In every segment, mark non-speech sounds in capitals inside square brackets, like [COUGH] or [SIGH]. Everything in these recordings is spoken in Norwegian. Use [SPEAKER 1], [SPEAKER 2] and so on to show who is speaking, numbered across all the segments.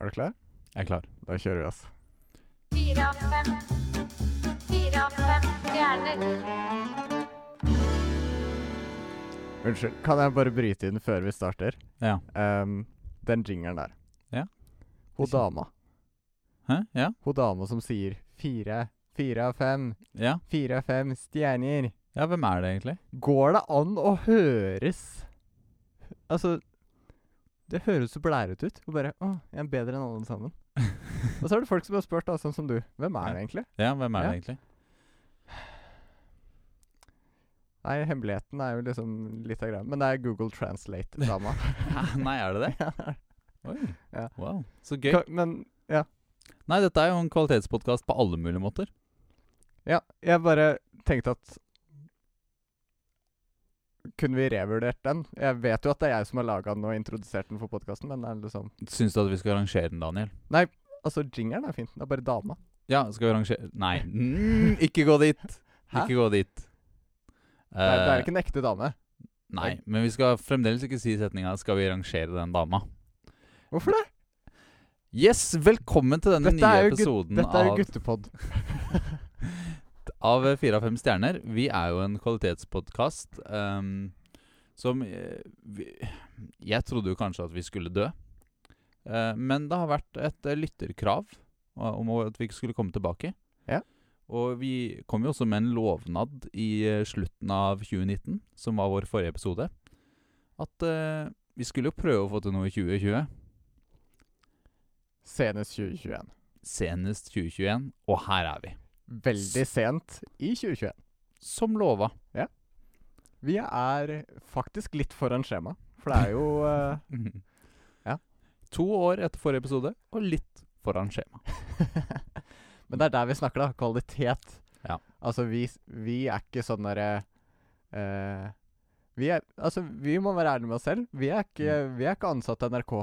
[SPEAKER 1] Er du klar?
[SPEAKER 2] Jeg er klar.
[SPEAKER 1] Da kjører vi, altså.
[SPEAKER 3] Fire av fem. Fire av fem stjerner.
[SPEAKER 1] Unnskyld, kan jeg bare bryte inn før vi starter?
[SPEAKER 2] Ja.
[SPEAKER 1] Ehm, den jingeren der.
[SPEAKER 2] Ja.
[SPEAKER 1] Hun
[SPEAKER 2] Ikke sant.
[SPEAKER 1] dama.
[SPEAKER 2] Hæ? Ja?
[SPEAKER 1] Hun dama som sier fire, fire av fem,
[SPEAKER 2] Ja,
[SPEAKER 1] fire av fem stjerner.
[SPEAKER 2] ja hvem er det egentlig? [LAUGHS]
[SPEAKER 1] Går det an å høres Altså Det høres så blærete ut. Og bare Å, jeg er bedre enn alle sammen. Og så er det folk som har spurt, da, sånn som du. Hvem er det egentlig?
[SPEAKER 2] Ja, hvem er
[SPEAKER 1] Ja. [LAUGHS]
[SPEAKER 2] det egentlig?
[SPEAKER 1] Nei, hemmeligheten er jo liksom litt av greia. Men det er Google Translate-dama.
[SPEAKER 2] Hæ? [LAUGHS] Nei, er det
[SPEAKER 1] [LAUGHS]
[SPEAKER 2] det? Oi.
[SPEAKER 1] Ja.
[SPEAKER 2] Wow. Så gøy.
[SPEAKER 1] Ka- Men ja.
[SPEAKER 2] Nei, dette er jo en kvalitetspodkast på alle mulige måter.
[SPEAKER 1] ja. Jeg bare tenkte at Kunne vi revurdert den? Jeg vet jo at det er jeg som har laga den og introdusert den for podkasten, men det er liksom
[SPEAKER 2] Syns du at vi skal arrangere den, Daniel?
[SPEAKER 1] Altså, jingeren er fin. Det er bare dama.
[SPEAKER 2] Ja, skal vi arrangere
[SPEAKER 1] [LAUGHS]
[SPEAKER 2] Nei, mm, ikke gå dit!
[SPEAKER 1] Hæ?
[SPEAKER 2] Ikke gå dit.
[SPEAKER 1] Det er, det
[SPEAKER 2] Eh,
[SPEAKER 1] er ikke en ekte dame.
[SPEAKER 2] Nei, men vi skal fremdeles ikke si setninga 'Skal vi rangere den dama'?
[SPEAKER 1] Hvorfor det?
[SPEAKER 2] Yes, velkommen til denne
[SPEAKER 1] Dette er
[SPEAKER 2] nye
[SPEAKER 1] jo gutt-
[SPEAKER 2] episoden
[SPEAKER 1] Dette er jo
[SPEAKER 2] av,
[SPEAKER 1] guttepod.
[SPEAKER 2] [LAUGHS] av eh, Fire av fem stjerner. Vi er jo en kvalitetspodkast ehm, som eh, vi, Jeg trodde jo kanskje at vi skulle dø, Eh, men det har vært et eh, lytterkrav eh, om at vi ikke skulle komme tilbake.
[SPEAKER 1] Ja.
[SPEAKER 2] Og vi kom jo også med en lovnad i eh, slutten av 2019, som var vår forrige episode, at eh, vi skulle jo prøve å få til noe i 2020.
[SPEAKER 1] Senest 2021.
[SPEAKER 2] senest 2021, og her er vi.
[SPEAKER 1] Veldig sent i 2021.
[SPEAKER 2] Som lova.
[SPEAKER 1] Vi er faktisk litt foran skjema, for det er jo eh, Ja.
[SPEAKER 2] To år etter forrige episode, og litt foran skjema.
[SPEAKER 1] [LAUGHS] Men det er der vi snakker, da. Kvalitet.
[SPEAKER 2] Ja.
[SPEAKER 1] Altså, vi, s- vi er ikke sånn derre eh, vi, er- altså, vi må være ærlige med oss selv. Vi er ikke, vi er ikke ansatt av NRK.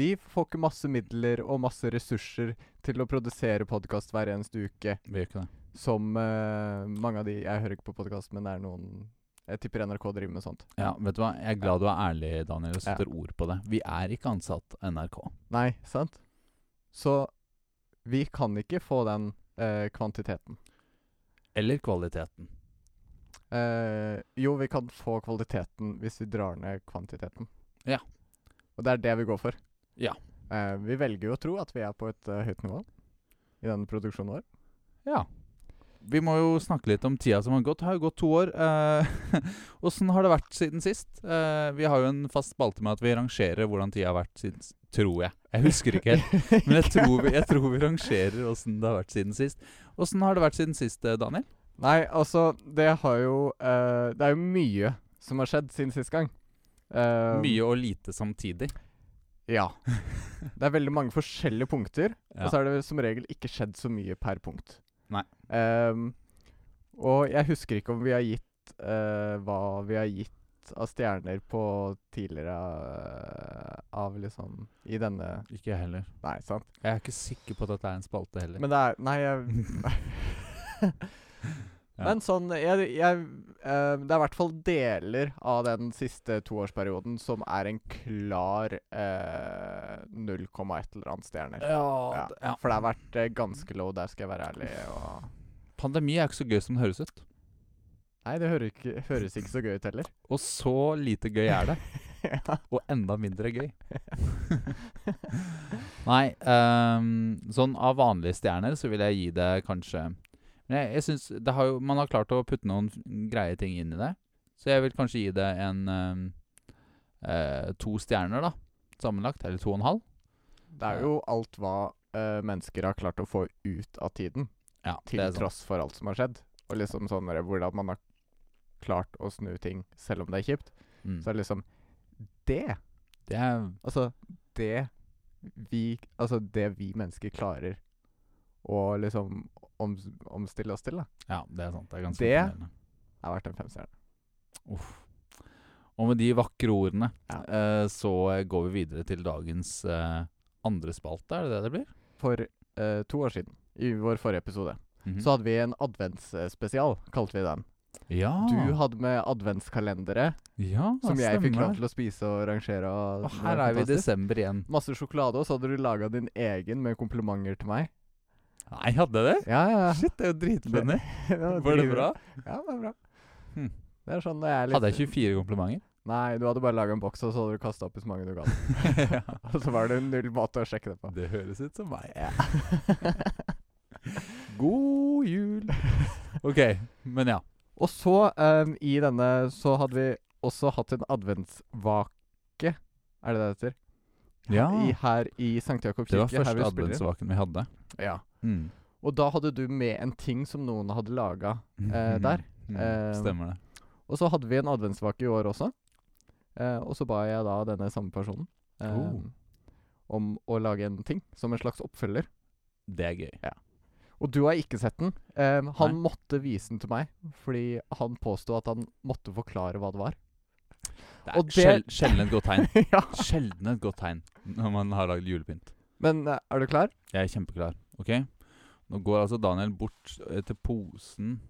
[SPEAKER 1] Vi får ikke masse midler og masse ressurser til å produsere podkast hver eneste uke,
[SPEAKER 2] Vi gjør ikke det.
[SPEAKER 1] som eh, mange av de Jeg hører ikke på podkast, men det er noen Jeg tipper NRK driver med sånt.
[SPEAKER 2] Ja, vet du hva? Jeg er glad du er ærlig, Daniel, og setter ord på det. Vi er ikke ansatt av NRK.
[SPEAKER 1] Nei, sant? Så vi kan ikke få den eh, kvantiteten.
[SPEAKER 2] Eller kvaliteten.
[SPEAKER 1] Eh, jo, vi kan få kvaliteten hvis vi drar ned kvantiteten.
[SPEAKER 2] Ja.
[SPEAKER 1] Og det er det vi går for.
[SPEAKER 2] Ja.
[SPEAKER 1] Eh, vi velger jo å tro at vi er på et eh, høyt nivå i denne produksjonen vår.
[SPEAKER 2] Ja. Vi må jo snakke litt om tida som har gått. Det har jo gått to år. Eh, [LAUGHS] Åssen har det vært siden sist? Eh, vi har jo en fast spalte med at vi rangerer hvordan tida har vært siden s- Tror jeg. Jeg husker ikke [LAUGHS] helt. Men jeg tror vi, jeg tror vi rangerer åssen det har vært siden sist. Åssen har det vært siden sist, eh, Daniel?
[SPEAKER 1] [LAUGHS] Nei, altså, det har jo eh, Det er jo mye som har skjedd siden sist gang. Eh,
[SPEAKER 2] Mye og lite samtidig.
[SPEAKER 1] Ja. Det er veldig mange forskjellige punkter,
[SPEAKER 2] Ja.
[SPEAKER 1] og så er det som regel ikke skjedd så mye per punkt.
[SPEAKER 2] Nei.
[SPEAKER 1] Ehm, og jeg husker ikke om vi har gitt eh, hva vi har gitt av stjerner på tidligere eh, av liksom I denne
[SPEAKER 2] Ikke jeg heller.
[SPEAKER 1] Nei, sant?
[SPEAKER 2] Jeg er ikke sikker på at dette er en spalte heller.
[SPEAKER 1] Men det er Nei, jeg
[SPEAKER 2] [LAUGHS]
[SPEAKER 1] [LAUGHS]
[SPEAKER 2] Ja.
[SPEAKER 1] Men sånn jeg, jeg, eh, Det er i hvert fall deler av den siste toårsperioden som er en klar eh, 0,1 eller annet stjerner.
[SPEAKER 2] ja,
[SPEAKER 1] Ja.
[SPEAKER 2] d- ja.
[SPEAKER 1] For det har vært eh, ganske low, der skal jeg være ærlig. Og
[SPEAKER 2] Pandemi er ikke så gøy som det høres ut.
[SPEAKER 1] Nei, det hører ikke, høres ikke så gøy ut heller.
[SPEAKER 2] Og så lite gøy er det.
[SPEAKER 1] [LAUGHS] ja.
[SPEAKER 2] Og enda
[SPEAKER 1] [LAUGHS]
[SPEAKER 2] mindre gøy. Nei, ehm, sånn av vanlige stjerner så vil jeg gi det kanskje Men jeg, jeg syns det har jo Man har klart å putte noen f- greie ting inn i det. Så jeg vil kanskje gi det en ehm, eh, to stjerner, da. Sammenlagt. Eller to og en halv.
[SPEAKER 1] Det er jo alt hva eh, mennesker har klart å få ut av tiden,
[SPEAKER 2] Ja,
[SPEAKER 1] til
[SPEAKER 2] det er sånn.
[SPEAKER 1] tross for alt som har skjedd. Og liksom sånn der, hvordan man har klart å snu ting selv om det er kjipt.
[SPEAKER 2] Mm.
[SPEAKER 1] Så er det liksom Det!
[SPEAKER 2] Det er
[SPEAKER 1] Altså, det vi Altså, det vi mennesker klarer å liksom oms omstille oss til, da,
[SPEAKER 2] Ja, det er sant. Det er ganske
[SPEAKER 1] Det-
[SPEAKER 2] imponerende.
[SPEAKER 1] er verdt en femstjerne.
[SPEAKER 2] Og med de vakre ordene
[SPEAKER 1] Ja.
[SPEAKER 2] eh, så går vi videre til dagens eh, andre spalte, er det det det blir?
[SPEAKER 1] For eh, to år siden, i vår forrige episode,
[SPEAKER 2] Mhm.
[SPEAKER 1] så hadde vi en adventsspesial, kalte vi den.
[SPEAKER 2] Ja.
[SPEAKER 1] Du hadde med adventskalendere,
[SPEAKER 2] ja,
[SPEAKER 1] som jeg fikk
[SPEAKER 2] stemmer
[SPEAKER 1] lov
[SPEAKER 2] det.
[SPEAKER 1] til å spise og rangere. Og
[SPEAKER 2] Og
[SPEAKER 1] det var
[SPEAKER 2] her er vi i
[SPEAKER 1] fantastisk.
[SPEAKER 2] desember igjen.
[SPEAKER 1] Masse sjokolade, og så hadde du laga din egen med komplimenter til meg.
[SPEAKER 2] Nei, hadde jeg det?
[SPEAKER 1] Ja, ja. [LAUGHS] ja.
[SPEAKER 2] Shit, det er jo dritfunny.
[SPEAKER 1] Det var
[SPEAKER 2] Var det
[SPEAKER 1] dritbra.
[SPEAKER 2] bra?
[SPEAKER 1] Ja, det var bra.
[SPEAKER 2] Hm.
[SPEAKER 1] Det er sånn når jeg er litt
[SPEAKER 2] Hadde jeg 24 [LAUGHS] komplimenter?
[SPEAKER 1] Nei, du hadde bare laga en boks, og så hadde du kasta oppi så mange du [LAUGHS] ga.
[SPEAKER 2] ja.
[SPEAKER 1] Og så var det null måte å sjekke det på.
[SPEAKER 2] Det høres ut som meg. [LAUGHS] God jul! Ok, men ja.
[SPEAKER 1] Og så, ehm, i denne, så hadde vi også hatt en adventsvake. Er det det det heter?
[SPEAKER 2] ja.
[SPEAKER 1] I, her i St. Jakob
[SPEAKER 2] Det
[SPEAKER 1] kirke.
[SPEAKER 2] var
[SPEAKER 1] her vi
[SPEAKER 2] første
[SPEAKER 1] spiller inn.
[SPEAKER 2] adventsvaken vi Mm. hadde.
[SPEAKER 1] Ja. Og da hadde du med en ting som noen hadde laga. Eh, der.
[SPEAKER 2] Mm,
[SPEAKER 1] Eh,
[SPEAKER 2] Stemmer det.
[SPEAKER 1] Og så hadde vi en adventsvake i år også. Eh, og så ba jeg da denne samme personen ehm, om å lage en ting, som en slags oppfølger.
[SPEAKER 2] Det er gøy.
[SPEAKER 1] Og du har ikke sett den. Ehm, han
[SPEAKER 2] Nei.
[SPEAKER 1] måtte vise den til meg, fordi han påsto at han måtte forklare hva det var.
[SPEAKER 2] Det
[SPEAKER 1] Og
[SPEAKER 2] er
[SPEAKER 1] det-
[SPEAKER 2] sjel sjelden et godt tegn.
[SPEAKER 1] [LAUGHS] ja.
[SPEAKER 2] Sjelden et godt tegn når man har lagd julepynt.
[SPEAKER 1] Men eh, er du klar?
[SPEAKER 2] Jeg er kjempeklar. Ok? Nå går altså Daniel bort eh, til posen.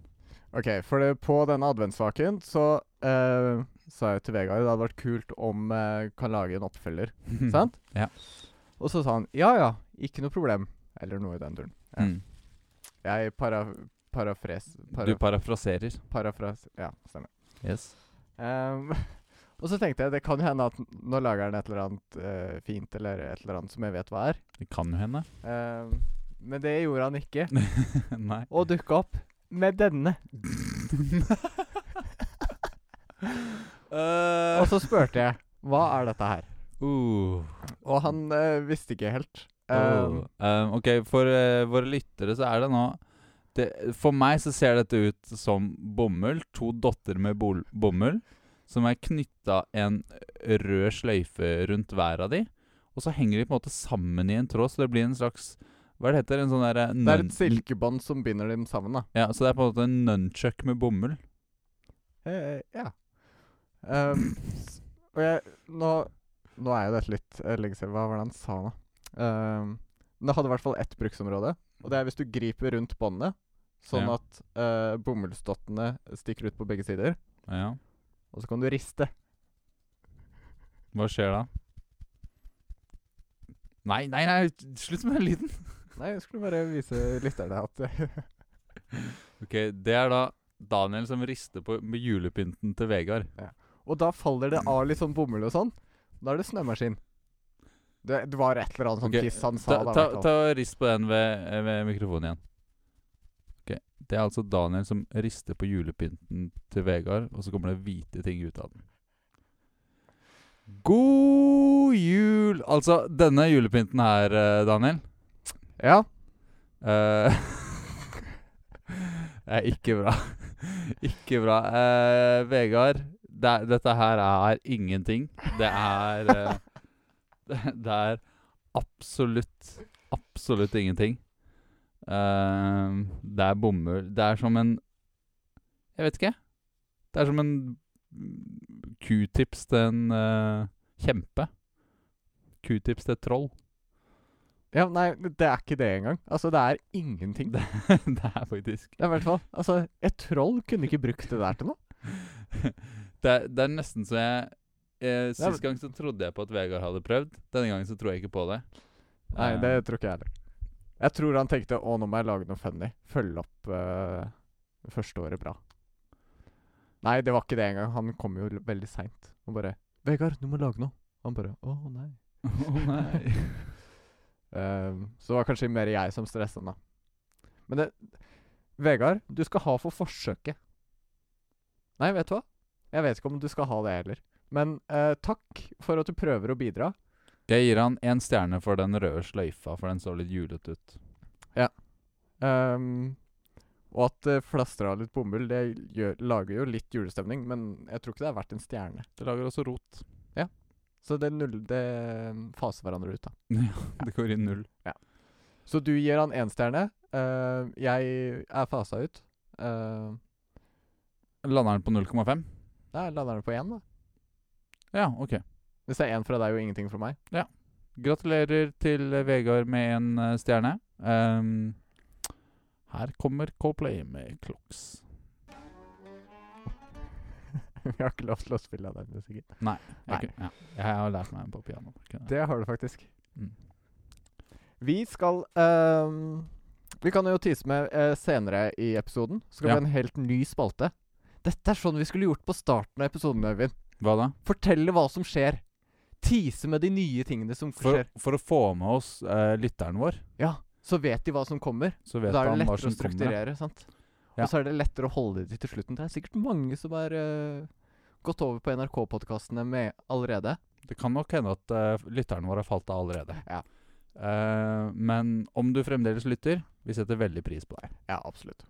[SPEAKER 1] Ok, for det, på denne adventsvaken så eh, sa jeg til Vegard det hadde vært kult om eh, kan lage en oppfølger.
[SPEAKER 2] [LAUGHS]
[SPEAKER 1] Sant?
[SPEAKER 2] Mm. Ja.
[SPEAKER 1] Og så sa han ja ja, ikke noe problem. Eller noe i den duren. Ja.
[SPEAKER 2] Mm.
[SPEAKER 1] Jeg para, parafres... Para,
[SPEAKER 2] Du parafraserer.
[SPEAKER 1] parafras... Ja, stemmer.
[SPEAKER 2] Yes.
[SPEAKER 1] Ehm, [LAUGHS] og så tenkte jeg det kan jo hende at n- nå lager han et eller annet eh, fint eller et eller annet som jeg vet hva er.
[SPEAKER 2] Det kan jo hende.
[SPEAKER 1] Ehm, men det gjorde han ikke.
[SPEAKER 2] [LAUGHS]
[SPEAKER 1] [LAUGHS]
[SPEAKER 2] Nei. [LAUGHS]
[SPEAKER 1] Og dukka opp med denne.
[SPEAKER 2] Eh,
[SPEAKER 1] Og så spurte jeg hva er dette her?
[SPEAKER 2] uh.
[SPEAKER 1] Og han eh, visste ikke helt. Ehm,
[SPEAKER 2] Oh. Um, ok, for eh, våre lyttere så er det nå det, For meg så ser dette ut som bomull. To dotter med bol bomull som er knytta en rød sløyfe rundt hver av de. Og så henger de på en måte sammen i en tråd, så det blir en slags Hva er det heter? En sånn derre
[SPEAKER 1] det er et silkebånd som binder dem sammen, da.
[SPEAKER 2] Ja, så det er på en måte en nunchuck med bomull.
[SPEAKER 1] Eh, ja. Ehm, s- og jeg Nå, nå er jo dette litt eh, lenge siden. Hva var det han sa nå? Ehm, men det hadde i hvert fall ett bruksområde. Og det er hvis du griper rundt båndet, sånn
[SPEAKER 2] Ja.
[SPEAKER 1] at eh, bomullsdottene stikker ut på begge sider.
[SPEAKER 2] Ja.
[SPEAKER 1] Og så kan du riste.
[SPEAKER 2] Hva skjer da? Nei, nei, nei, slutt med den lyden.
[SPEAKER 1] Nei, jeg skulle bare vise lytterne at [LAUGHS] eh,
[SPEAKER 2] Ok, Det er da Daniel som rister på med julepynten til Vegard.
[SPEAKER 1] Og da faller det av litt sånn bomull og sånn. Da er det snømaskin. Det, det var et eller annet sånn
[SPEAKER 2] Ok,
[SPEAKER 1] piss han sa. da,
[SPEAKER 2] Ta,
[SPEAKER 1] i
[SPEAKER 2] ta,
[SPEAKER 1] hvert fall.
[SPEAKER 2] ta og Rist på den ved, ved mikrofonen igjen. Ok, Det er altså Daniel som rister på julepynten til Vegard, og så kommer det hvite ting ut av den. God jul! Altså, denne julepynten her, eh, Daniel
[SPEAKER 1] Ja.
[SPEAKER 2] eh, [LAUGHS] er ikke bra. [LAUGHS] ikke bra. Eh, Vegard, det, er- dette her er ingenting. Det er eh, [LAUGHS] det, det er absolutt, absolutt ingenting. Ehm, det er bomull. Det er som en Jeg vet ikke. Det er som en mm, q-tips til en eh, kjempe. Q-tips til et troll. [LAUGHS]
[SPEAKER 1] ja. Nei, det er ikke det engang. Altså, det er ingenting.
[SPEAKER 2] Det, det er faktisk
[SPEAKER 1] Ja, i hvert fall. Altså, et troll kunne ikke brukt det der til noe.
[SPEAKER 2] [LAUGHS] det, er- det er nesten så jeg eh,
[SPEAKER 1] Ja, men-
[SPEAKER 2] Sist gang så trodde jeg på at Vegard hadde prøvd. Denne gangen så tror jeg ikke på det.
[SPEAKER 1] Nei,
[SPEAKER 2] Eh,
[SPEAKER 1] det tror ikke jeg heller. Jeg tror han tenkte å, nå må jeg lage noe funny. Følge opp eh, første året bra. Nei, det var ikke det engang. Han kom jo l- veldig seint og bare 'Vegard, du må lage noe.' Han bare 'Å, nei'.
[SPEAKER 2] [LAUGHS] Å
[SPEAKER 1] [LAUGHS]
[SPEAKER 2] nei.
[SPEAKER 1] Ehm, så det var kanskje mer jeg som stressa han, da. Men det Vegard, du skal ha for forsøket. Nei, vet du hva? Jeg vet ikke om du skal ha det heller. Men eh, takk for at du prøver å bidra.
[SPEAKER 2] Jeg gir han én stjerne for den røde sløyfa, for den så litt julete ut.
[SPEAKER 1] Ehm, og at det flaster av litt bomull, det gjør, lager jo litt julestemning, men jeg tror ikke det er verdt en stjerne.
[SPEAKER 2] Det lager også rot.
[SPEAKER 1] Så det, null, det mm, faser hverandre ut, da.
[SPEAKER 2] Det går i null.
[SPEAKER 1] Så du gir han én stjerne. eh, jeg er fasa ut. Uh,
[SPEAKER 2] Lander den på 0,5?
[SPEAKER 1] der lander den på én, da.
[SPEAKER 2] Ja, ok.
[SPEAKER 1] Hvis det er én fra deg og ingenting fra meg. [LAUGHS]
[SPEAKER 2] Gratulerer til eh, Vegard med en eh, stjerne. Ehm, her kommer Coldplay med Clocks.
[SPEAKER 1] Vi har ikke lov til å spille den musikken.
[SPEAKER 2] Jeg, kunne- ja. jeg har lært meg den på piano. Kunne-
[SPEAKER 1] Det har du faktisk.
[SPEAKER 2] Mm.
[SPEAKER 1] Vi skal ehm, Vi kan jo tise med eh, senere i episoden. Så skal vi
[SPEAKER 2] Ja.
[SPEAKER 1] ha en helt ny spalte. Dette er sånn vi skulle gjort på starten av episoden, Øyvind.
[SPEAKER 2] Hva da?
[SPEAKER 1] Fortelle hva som skjer. Tise med de nye tingene som
[SPEAKER 2] For,
[SPEAKER 1] skjer.
[SPEAKER 2] for å få med oss eh, lytteren vår,
[SPEAKER 1] Ja, så vet de hva som kommer.
[SPEAKER 2] så vet
[SPEAKER 1] Da er
[SPEAKER 2] han
[SPEAKER 1] det
[SPEAKER 2] hva
[SPEAKER 1] lettere å
[SPEAKER 2] som kommer.
[SPEAKER 1] strukturere, sant?
[SPEAKER 2] Ja.
[SPEAKER 1] Og så er det lettere å holde det til slutten. Det er sikkert mange som har eh, gått over på NRK-podkastene med allerede.
[SPEAKER 2] Det kan nok hende at eh, lytteren vår har falt av allerede.
[SPEAKER 1] Ja.
[SPEAKER 2] Eh, men om du fremdeles lytter, vi setter veldig pris på deg.
[SPEAKER 1] Ja, absolutt.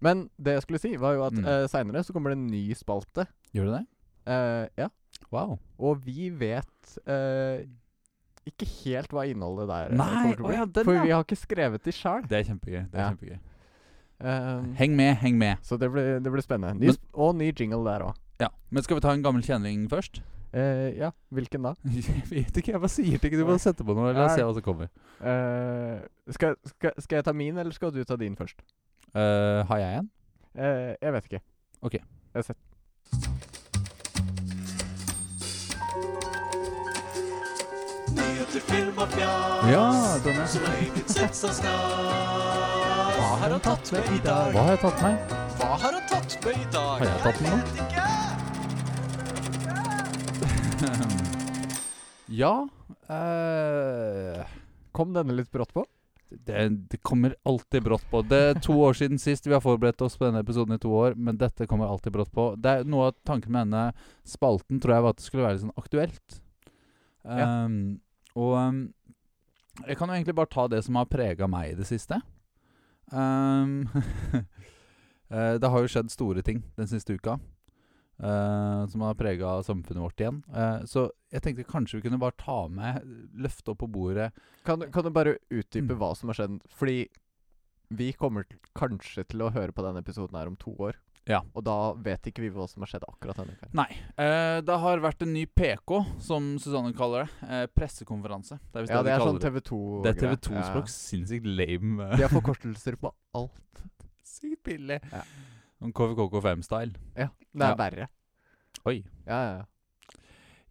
[SPEAKER 1] Men det jeg skulle si, var jo at
[SPEAKER 2] Mm.
[SPEAKER 1] eh, seinere så kommer det en ny spalte.
[SPEAKER 2] Gjør du det?
[SPEAKER 1] Eh, ja.
[SPEAKER 2] Wow.
[SPEAKER 1] Og vi vet eh, ikke helt hva innholdet der eh,
[SPEAKER 2] Nei,
[SPEAKER 1] kommer til å
[SPEAKER 2] å
[SPEAKER 1] bli.
[SPEAKER 2] ja, den,
[SPEAKER 1] for
[SPEAKER 2] ja.
[SPEAKER 1] vi har ikke skrevet de sjøl.
[SPEAKER 2] Det er kjempegøy. Det er
[SPEAKER 1] Ja.
[SPEAKER 2] kjempegøy. Heng med, heng med.
[SPEAKER 1] så det blir, det blir spennende.
[SPEAKER 2] Men-
[SPEAKER 1] Ny, sp- og ny jingle der òg.
[SPEAKER 2] Ja. Men skal vi ta en gammel kjenning først? [LAUGHS]
[SPEAKER 1] ja, hvilken da?
[SPEAKER 2] jeg vet ikke, jeg bare sier til ikke du bare setter på noe. La oss se hva som kommer.
[SPEAKER 1] Eh, skal, skal, skal jeg ta min, eller skal du ta din først?
[SPEAKER 2] Eh, har jeg en?
[SPEAKER 1] Eh, jeg vet ikke.
[SPEAKER 2] Ok.
[SPEAKER 1] Jeg har sett.
[SPEAKER 4] Nyheter, film og fjas
[SPEAKER 2] Ja, den er
[SPEAKER 4] som øyeblikk sett og stas. Hva har han tatt med i dag?
[SPEAKER 2] Hva har jeg tatt meg?
[SPEAKER 4] Hva har han tatt med i dag?
[SPEAKER 2] Har jeg tatt den nå?
[SPEAKER 4] vet ikke.
[SPEAKER 2] [LAUGHS] Ja eh,
[SPEAKER 1] Kom denne litt brått på?
[SPEAKER 2] det, det kommer alltid brått på. Det er to år siden sist. Vi har forberedt oss på denne episoden i to år, men dette kommer alltid brått på. Det er Noe av tanken med denne spalten tror jeg var at det skulle være litt sånn aktuelt.
[SPEAKER 1] Ja.
[SPEAKER 2] Ehm, og ehm, jeg kan jo egentlig bare ta det som har prega meg i det siste. Ehm, [LAUGHS] eh, det har jo skjedd store ting den siste uka. eh, som har prega samfunnet vårt igjen. Eh, så jeg tenkte kanskje vi kunne bare ta med, løfte opp på bordet
[SPEAKER 1] Kan, kan du bare utdype
[SPEAKER 2] Mm.
[SPEAKER 1] hva som har skjedd? Fordi vi kommer til, kanskje til å høre på denne episoden her om to år.
[SPEAKER 2] Ja.
[SPEAKER 1] Og da vet ikke vi hva som har skjedd akkurat denne kvelden.
[SPEAKER 2] Eh, det har vært en ny PK, som Susanne kaller det. Eh, pressekonferanse. Det er visst
[SPEAKER 1] Ja,
[SPEAKER 2] det
[SPEAKER 1] det
[SPEAKER 2] de
[SPEAKER 1] er sånn
[SPEAKER 2] kaller
[SPEAKER 1] TV2-språk.
[SPEAKER 2] det. Det er TV2-språk. Sinnssykt lame.
[SPEAKER 1] De har forkortelser på alt.
[SPEAKER 2] [LAUGHS] Sykt billig. Sånn
[SPEAKER 1] Ja.
[SPEAKER 2] Om KVKK5-style.
[SPEAKER 1] Ja, det er
[SPEAKER 2] Ja.
[SPEAKER 1] verre.
[SPEAKER 2] Oi.
[SPEAKER 1] Ja, ja, ja.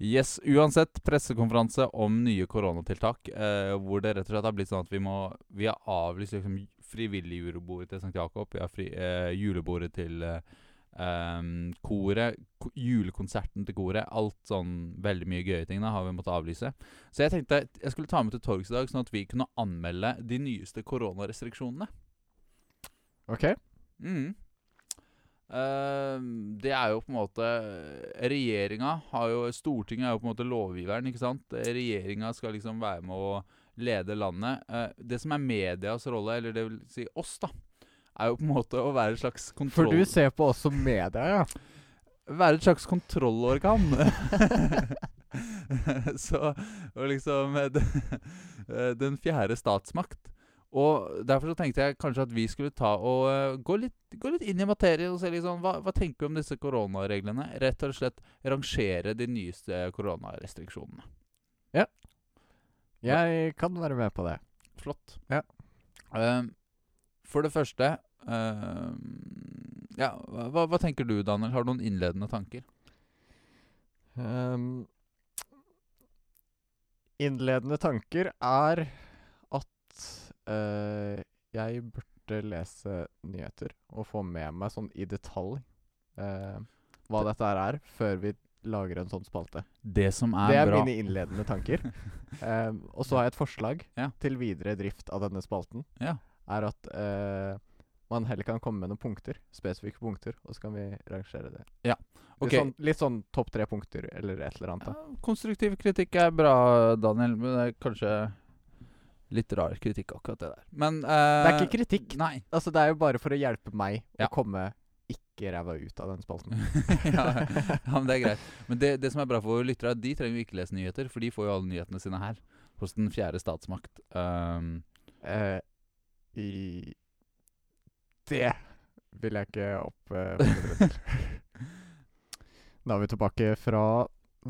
[SPEAKER 2] Yes, uansett. Pressekonferanse om nye koronatiltak. Eh, hvor det rett og slett har blitt sånn at vi må Vi har avlyst liksom frivillig julebordet til St. Jakob. Vi har fri, eh, julebordet til eh, ehm, koret. Ko julekonserten til koret. Alt sånn veldig mye gøye ting da har vi måttet avlyse. Så jeg tenkte jeg skulle ta med til torgs i dag, sånn at vi kunne anmelde de nyeste koronarestriksjonene.
[SPEAKER 1] OK.
[SPEAKER 2] Mm. Ehm, det er jo på en måte Regjeringa har jo Stortinget er jo på en måte lovgiveren, ikke sant? Regjeringa skal liksom være med å lede landet. Eh, det som er medias rolle, eller det vil si oss, da, er jo på en måte å være et slags
[SPEAKER 1] For
[SPEAKER 2] kontroll...
[SPEAKER 1] du ser på oss som media, ja.
[SPEAKER 2] Være et slags kontrollorgan. [LAUGHS] Så og liksom eh, d- eh, Den fjerde statsmakt. Og Derfor så tenkte jeg kanskje at vi skulle ta og eh, gå litt, gå litt inn i materien og se liksom, hva, hva tenker vi om disse koronareglene. Rett og slett rangere de nyeste koronarestriksjonene.
[SPEAKER 1] Jeg kan være med på det.
[SPEAKER 2] Flott.
[SPEAKER 1] Ja.
[SPEAKER 2] Ehm, for det første ehm, Ja, hva, hva tenker du, Daniel? Har du noen innledende tanker?
[SPEAKER 1] Ehm, innledende tanker er at eh, jeg burde lese nyheter og få med meg sånn i detalj eh, hva dette her er, før vi lager en sånn spalte.
[SPEAKER 2] Det som er,
[SPEAKER 1] Det er
[SPEAKER 2] bra
[SPEAKER 1] mine innledende
[SPEAKER 2] [LAUGHS]
[SPEAKER 1] tanker. Ehm, og så har jeg et forslag
[SPEAKER 2] Ja.
[SPEAKER 1] til videre drift av denne spalten.
[SPEAKER 2] Ja.
[SPEAKER 1] Er at eh, man heller kan komme med noen punkter, spesifikke punkter, og så kan vi rangere det.
[SPEAKER 2] Ja, ok.
[SPEAKER 1] Litt sånn, litt sånn topp tre punkter, eller et eller annet. da.
[SPEAKER 2] Ja, konstruktiv kritikk er bra, Daniel, men det er kanskje litt rar kritikk, akkurat det der. Men eh,
[SPEAKER 1] Det er ikke kritikk.
[SPEAKER 2] Nei. [LAUGHS]
[SPEAKER 1] Altså, det er jo bare for å hjelpe meg
[SPEAKER 2] Ja.
[SPEAKER 1] å komme ikke ræva ut av den spalten.
[SPEAKER 2] ja, [LAUGHS] ja, men det er greit. Men det, det som er bra for våre lyttere, er at de trenger jo ikke lese nyheter, for de får jo alle nyhetene sine her. Hos den fjerde statsmakt.
[SPEAKER 1] [LAUGHS]
[SPEAKER 2] Ehm,
[SPEAKER 1] [LAUGHS] Eh, I Det vil jeg ikke opp...
[SPEAKER 2] [LAUGHS]
[SPEAKER 1] eh, da er vi tilbake fra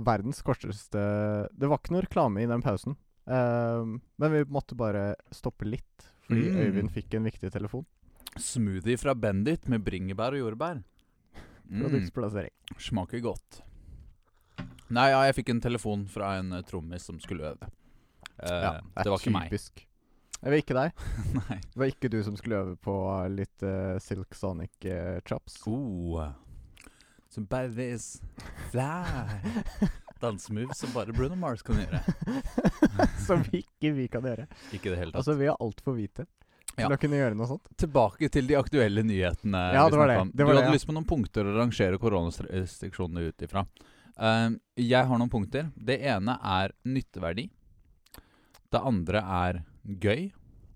[SPEAKER 1] verdens korteste Det var ikke noe reklame i den pausen. Ehm, men vi måtte bare stoppe litt, fordi
[SPEAKER 2] Mm.
[SPEAKER 1] Øyvind fikk en viktig telefon.
[SPEAKER 2] smoothie fra Bendit med bringebær og jordbær. Mm.
[SPEAKER 1] Produktplassering.
[SPEAKER 2] Smaker godt. Nei, ja, jeg fikk en telefon fra en eh, trommis som skulle øve. Eh, det, var ikke meg.
[SPEAKER 1] typisk. Det var ikke deg.
[SPEAKER 2] [LAUGHS] Nei.
[SPEAKER 1] Det var ikke du som skulle øve på litt eh, Silk Sonic eh, chops.
[SPEAKER 2] [LAUGHS] Oh. Som bare this fly. Dansemove som bare Bruno Mars kan gjøre.
[SPEAKER 1] [LAUGHS] som ikke vi kan gjøre.
[SPEAKER 2] Ikke i det hele tatt.
[SPEAKER 1] Altså, vi er altfor hvite til
[SPEAKER 2] Ja.
[SPEAKER 1] å kunne gjøre noe sånt.
[SPEAKER 2] Tilbake til de aktuelle nyhetene.
[SPEAKER 1] Ja,
[SPEAKER 2] vi
[SPEAKER 1] det var
[SPEAKER 2] snakket
[SPEAKER 1] det.
[SPEAKER 2] om.
[SPEAKER 1] Det var
[SPEAKER 2] du
[SPEAKER 1] det,
[SPEAKER 2] hadde
[SPEAKER 1] ja.
[SPEAKER 2] lyst på noen punkter å rangere koronarestriksjonene ut ifra. Eh, jeg har noen punkter. Det ene er nytteverdi. Det andre er gøy.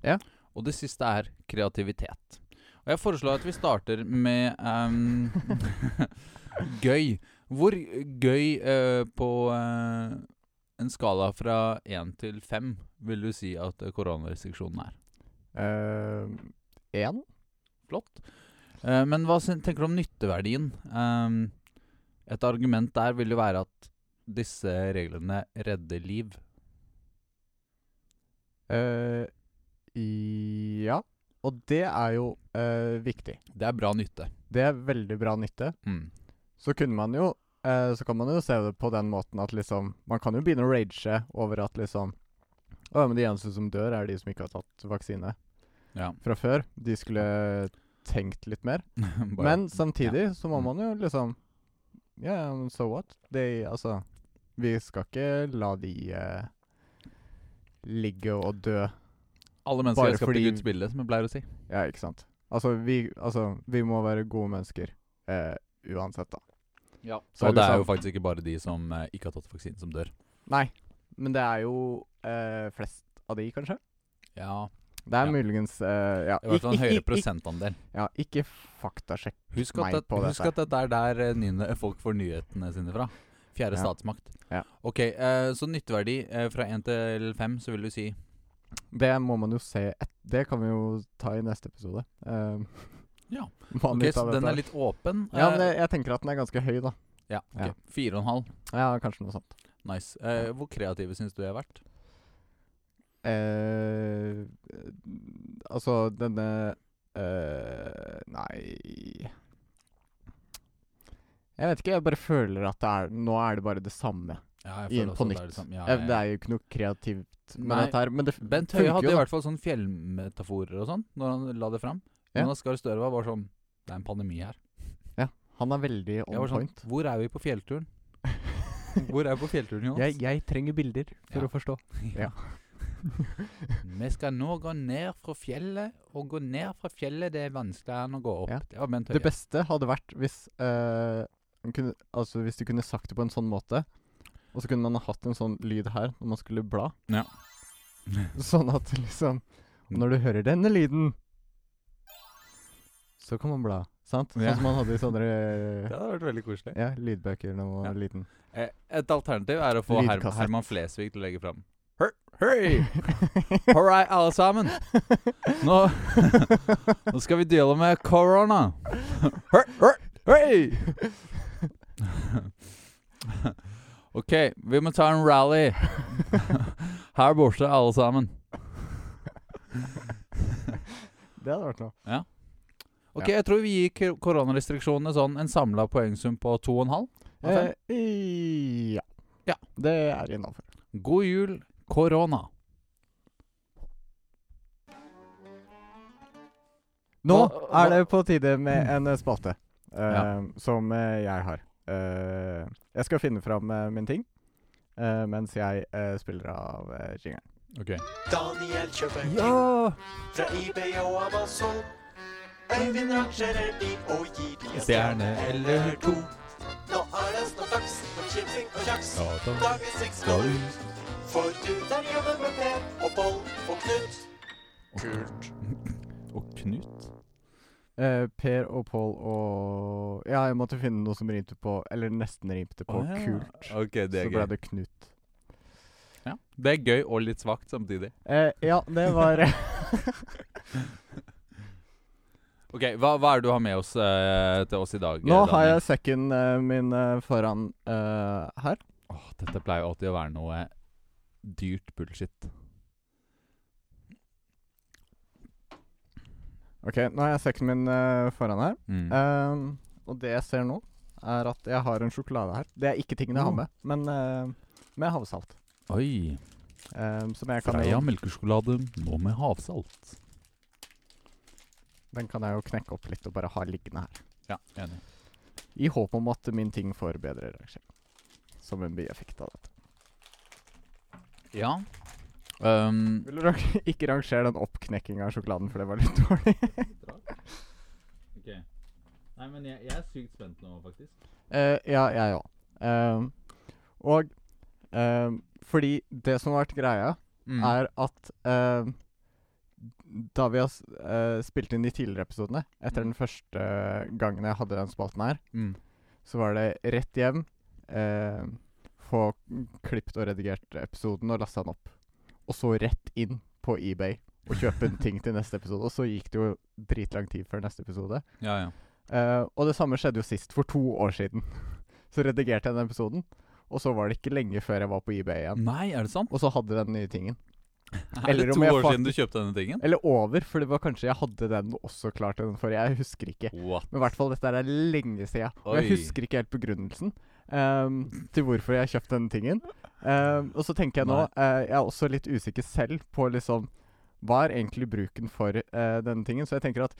[SPEAKER 1] Ja.
[SPEAKER 2] Og det siste er kreativitet. Og jeg foreslår at vi starter med eh, [LAUGHS] gøy. Hvor gøy eh, på eh, en skala fra én til fem vil du si at eh, koronarestriksjonen er?
[SPEAKER 1] Ehm, Én?
[SPEAKER 2] Flott. Eh, men hva syn- tenker du om nytteverdien? Ehm, et argument der vil jo være at disse reglene redder liv.
[SPEAKER 1] eh, ja. Og det er jo eh, viktig.
[SPEAKER 2] Det er bra nytte.
[SPEAKER 1] Det er veldig bra nytte.
[SPEAKER 2] Mm.
[SPEAKER 1] så kunne man jo eh, Så kan man jo se det på den måten at liksom Man kan jo begynne å rage over at liksom Å ja, men de eneste som dør, er de som ikke har tatt vaksine
[SPEAKER 2] Ja. [LAUGHS]
[SPEAKER 1] fra før. De skulle tenkt litt mer.
[SPEAKER 2] Bare-
[SPEAKER 1] Men samtidig så må
[SPEAKER 2] Mm.
[SPEAKER 1] man jo liksom Ja, ja, men so what? De Altså Vi skal ikke la de eh, ligge og dø.
[SPEAKER 2] alle mennesker
[SPEAKER 1] bare
[SPEAKER 2] er skapt i
[SPEAKER 1] fordi-
[SPEAKER 2] Guds bilde, som jeg pleier å si.
[SPEAKER 1] Ja, ikke sant? Altså, vi, altså, vi må være gode mennesker. Eh, uansett, da. Så
[SPEAKER 2] og det er jo
[SPEAKER 1] liksom-
[SPEAKER 2] faktisk ikke bare de som eh, ikke har tatt vaksinen, som dør.
[SPEAKER 1] Nei, men det er jo eh, flest av de, kanskje?
[SPEAKER 2] Ja,
[SPEAKER 1] Det er
[SPEAKER 2] Ja.
[SPEAKER 1] muligens eh, ja.
[SPEAKER 2] I hvert fall en
[SPEAKER 1] Ikke-
[SPEAKER 2] høyere
[SPEAKER 1] ikke- ikke-
[SPEAKER 2] prosentandel.
[SPEAKER 1] Ja, ikke faktasjekk.
[SPEAKER 2] Husk
[SPEAKER 1] meg
[SPEAKER 2] at, det,
[SPEAKER 1] på
[SPEAKER 2] husk
[SPEAKER 1] dette.
[SPEAKER 2] at dette er der eh, nyne- folk får nyhetene sine fra. Fjerde
[SPEAKER 1] Ja.
[SPEAKER 2] statsmakt.
[SPEAKER 1] Ja.
[SPEAKER 2] Ok, eh, Så nytteverdi eh, fra én til fem, så vil du si
[SPEAKER 1] Det må man jo se et Det kan vi jo ta i neste episode. Eh,
[SPEAKER 2] [LAUGHS] Ja.
[SPEAKER 1] hva [LAUGHS] man
[SPEAKER 2] Ok,
[SPEAKER 1] ut av
[SPEAKER 2] så den
[SPEAKER 1] dette
[SPEAKER 2] er litt åpen.
[SPEAKER 1] Ja, men
[SPEAKER 2] eh,
[SPEAKER 1] jeg, jeg tenker at den er ganske høy, da.
[SPEAKER 2] Ja, ok.
[SPEAKER 1] Ja.
[SPEAKER 2] Fire og en halv.
[SPEAKER 1] Ja, kanskje noe sånt.
[SPEAKER 2] Nice. Eh, hvor kreative syns du jeg har vært?
[SPEAKER 1] Eh, altså, denne eh, Nei Jeg vet ikke, jeg bare føler at det er Nå er det bare det samme.
[SPEAKER 2] Ja,
[SPEAKER 1] I- på nytt.
[SPEAKER 2] Det er, liksom, ja,
[SPEAKER 1] Eh,
[SPEAKER 2] ja,
[SPEAKER 1] Det
[SPEAKER 2] ja.
[SPEAKER 1] er jo ikke noe kreativt med
[SPEAKER 2] Nei,
[SPEAKER 1] dette her. Men det f-
[SPEAKER 2] Bent
[SPEAKER 1] funker
[SPEAKER 2] Høie
[SPEAKER 1] jo,
[SPEAKER 2] hadde
[SPEAKER 1] da.
[SPEAKER 2] i hvert fall sånn fjellmetaforer og sånn når han la det fram.
[SPEAKER 1] Ja.
[SPEAKER 2] Jonas Gahr Støre var bare sånn Det er en pandemi her.
[SPEAKER 1] Han er veldig on
[SPEAKER 2] Jeg var sånn,
[SPEAKER 1] point.
[SPEAKER 2] hvor er vi på fjellturen?
[SPEAKER 1] [LAUGHS]
[SPEAKER 2] Hvor er vi på fjellturen, Jonas? [LAUGHS]
[SPEAKER 1] Jeg, jeg trenger bilder for
[SPEAKER 2] Ja.
[SPEAKER 1] å forstå. Ja.
[SPEAKER 2] [LAUGHS] Vi skal nå gå ned fra fjellet, og gå ned fra fjellet det er vanskeligere enn å gå opp.
[SPEAKER 1] Ja.
[SPEAKER 2] Det var Bent
[SPEAKER 1] Det
[SPEAKER 2] Høie.
[SPEAKER 1] beste hadde vært hvis eh, man kunne, Altså hvis du kunne sagt det på en sånn måte, og så kunne man ha hatt en sånn lyd her når man skulle bla.
[SPEAKER 2] Ja.
[SPEAKER 1] [LAUGHS]
[SPEAKER 2] Mm.
[SPEAKER 1] sånn at liksom Når du hører denne lyden, så kan man bla. Sant? Sånn
[SPEAKER 2] Ja.
[SPEAKER 1] som man hadde i sånne
[SPEAKER 2] [LAUGHS] Det hadde vært veldig koselig.
[SPEAKER 1] ja, lydbøker da man var
[SPEAKER 2] Ja.
[SPEAKER 1] liten.
[SPEAKER 2] Eh, Et alternativ er å få Her
[SPEAKER 1] Lydkassett.
[SPEAKER 2] Herman Flesvig til å legge fram Hør- Hei! [LAUGHS] All right, alle sammen. Nå, [LAUGHS] nå skal vi deale med korona. Hør, hør, Hei! [LAUGHS] OK, vi må ta en rally [LAUGHS] her borte, alle sammen.
[SPEAKER 1] Det hadde vært noe.
[SPEAKER 2] OK, jeg tror vi gir kor- koronarestriksjonene sånn en samla poengsum på 2,5. Av fem.
[SPEAKER 1] Eh, i- ja.
[SPEAKER 2] Ja.
[SPEAKER 1] Det er innafor.
[SPEAKER 2] God jul, korona.
[SPEAKER 1] Nå
[SPEAKER 2] Hva-
[SPEAKER 1] er
[SPEAKER 2] hva-
[SPEAKER 1] det på tide med en eh, spalte eh,
[SPEAKER 2] Ja.
[SPEAKER 1] som eh, jeg har. Eh, jeg skal finne fram eh, min ting eh, mens jeg eh, spiller av eh, jingeren.
[SPEAKER 2] OK.
[SPEAKER 4] Daniel kjøper ting fra eBay og Amazon. Øyvind rangerer de og gir de en
[SPEAKER 2] Stjerne eller to.
[SPEAKER 4] Nå er det snart for chipsing og kjaks.
[SPEAKER 2] Ja, da.
[SPEAKER 4] Dagens seks skal ut. For du der hjemme med Per og Boll og Knut. Kult.
[SPEAKER 2] Og Knut.
[SPEAKER 1] Eh, per og Pål og Ja, jeg måtte finne noe som rimte på Eller nesten rimte på
[SPEAKER 2] Å, ja.
[SPEAKER 1] kult.
[SPEAKER 2] Ok, det
[SPEAKER 1] Så
[SPEAKER 2] er
[SPEAKER 1] ble
[SPEAKER 2] gøy.
[SPEAKER 1] det Knut.
[SPEAKER 2] Ja. Det er gøy og litt svakt samtidig.
[SPEAKER 1] Eh, ja, det
[SPEAKER 2] [LAUGHS]
[SPEAKER 1] var
[SPEAKER 2] Ok, hva, hva er det du har med oss eh, til oss i dag?
[SPEAKER 1] Nå har jeg sekken eh, min eh, foran eh, her.
[SPEAKER 2] Åh, Dette pleier jo alltid å være noe dyrt bullshit.
[SPEAKER 1] OK, nå har jeg sekken min eh, foran her.
[SPEAKER 2] Mm.
[SPEAKER 1] Um, Og det jeg ser nå, er at jeg har en sjokolade her. Det er ikke tingene jeg har
[SPEAKER 2] Mm.
[SPEAKER 1] med, men eh, med havsalt.
[SPEAKER 2] Oi.
[SPEAKER 1] Eh, som jeg kan
[SPEAKER 2] Freia
[SPEAKER 1] jo,
[SPEAKER 2] melkesjokolade, nå med havsalt.
[SPEAKER 1] den kan jeg jo knekke opp litt og bare ha liggende her.
[SPEAKER 2] Ja, enig.
[SPEAKER 1] I håp om at min ting får bedre reaksjon. Som en bieffekt av dette.
[SPEAKER 2] Ja. Um,
[SPEAKER 1] Vil du rang- [LAUGHS] ikke rangere den oppknekkinga av sjokoladen, for det var litt [LAUGHS] dårlig.
[SPEAKER 2] Nei, men jeg, er sykt spent nå, faktisk.
[SPEAKER 1] Eh, ja, jeg òg. og eh, fordi det som har vært greia,
[SPEAKER 2] Mm.
[SPEAKER 1] er at eh, da vi har s- eh, spilt inn de tidligere episodene, etter den første gangen jeg hadde den spalten her,
[SPEAKER 2] Mm.
[SPEAKER 1] så var det rett hjem, eh, få klippet og redigert episoden og lasta den opp. Og så rett inn på eBay og kjøpe en ting til neste episode. Og så gikk det jo dritlang tid før neste episode.
[SPEAKER 2] Ja, ja.
[SPEAKER 1] Eh, og det samme skjedde jo sist, for to år siden. [LAUGHS] Så redigerte jeg den episoden, og så var det ikke lenge før jeg var på eBay igjen.
[SPEAKER 2] Nei, er det sant?
[SPEAKER 1] Og så hadde den nye tingen.
[SPEAKER 2] Er
[SPEAKER 1] Eller
[SPEAKER 2] det
[SPEAKER 1] om
[SPEAKER 2] to
[SPEAKER 1] jeg
[SPEAKER 2] år siden du
[SPEAKER 1] faktisk-
[SPEAKER 2] kjøpte denne tingen?
[SPEAKER 1] Eller over, for det var kanskje jeg hadde den også klar til den forrige. Jeg husker ikke.
[SPEAKER 2] What?
[SPEAKER 1] Men i hvert fall, dette er lenge siden. Og jeg
[SPEAKER 2] Oi.
[SPEAKER 1] husker ikke helt begrunnelsen ehm, til hvorfor jeg kjøpte denne tingen. Ehm, og så tenker jeg nå eh, Jeg er også litt usikker selv på liksom Hva er egentlig bruken for eh, denne tingen? Så jeg tenker at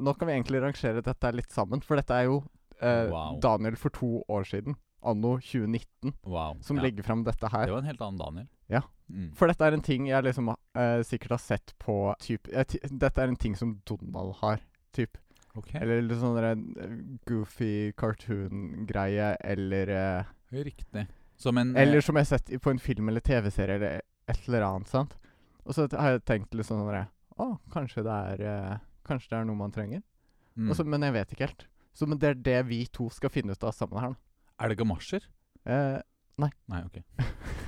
[SPEAKER 1] nå kan vi egentlig rangere dette litt sammen, for dette er jo eh,
[SPEAKER 2] Wow.
[SPEAKER 1] Daniel for to år siden, anno 2019,
[SPEAKER 2] Wow.
[SPEAKER 1] som
[SPEAKER 2] ja.
[SPEAKER 1] legger fram dette her.
[SPEAKER 2] Det var en helt annen Daniel.
[SPEAKER 1] Ja.
[SPEAKER 2] Mm.
[SPEAKER 1] For dette er en ting jeg liksom eh, sikkert har sett på typ, jeg ti- Dette er en ting som Donald har, typ.
[SPEAKER 2] Ok,
[SPEAKER 1] Eller litt sånn der, eh, goofy cartoon-greie, eller eh,
[SPEAKER 2] Riktig. Som en eh,
[SPEAKER 1] Eller som jeg har sett i- på en film eller TV-serie eller et eller annet, sant. Og så har jeg tenkt litt sånn der, Å, kanskje det er eh, Kanskje det er noe man trenger.
[SPEAKER 2] mm.
[SPEAKER 1] Og så- men jeg vet ikke helt. Så men det er det vi to skal finne ut av sammen her,
[SPEAKER 2] Er det gamasjer?
[SPEAKER 1] da. Eh,
[SPEAKER 2] Nei, ok.
[SPEAKER 1] [LAUGHS]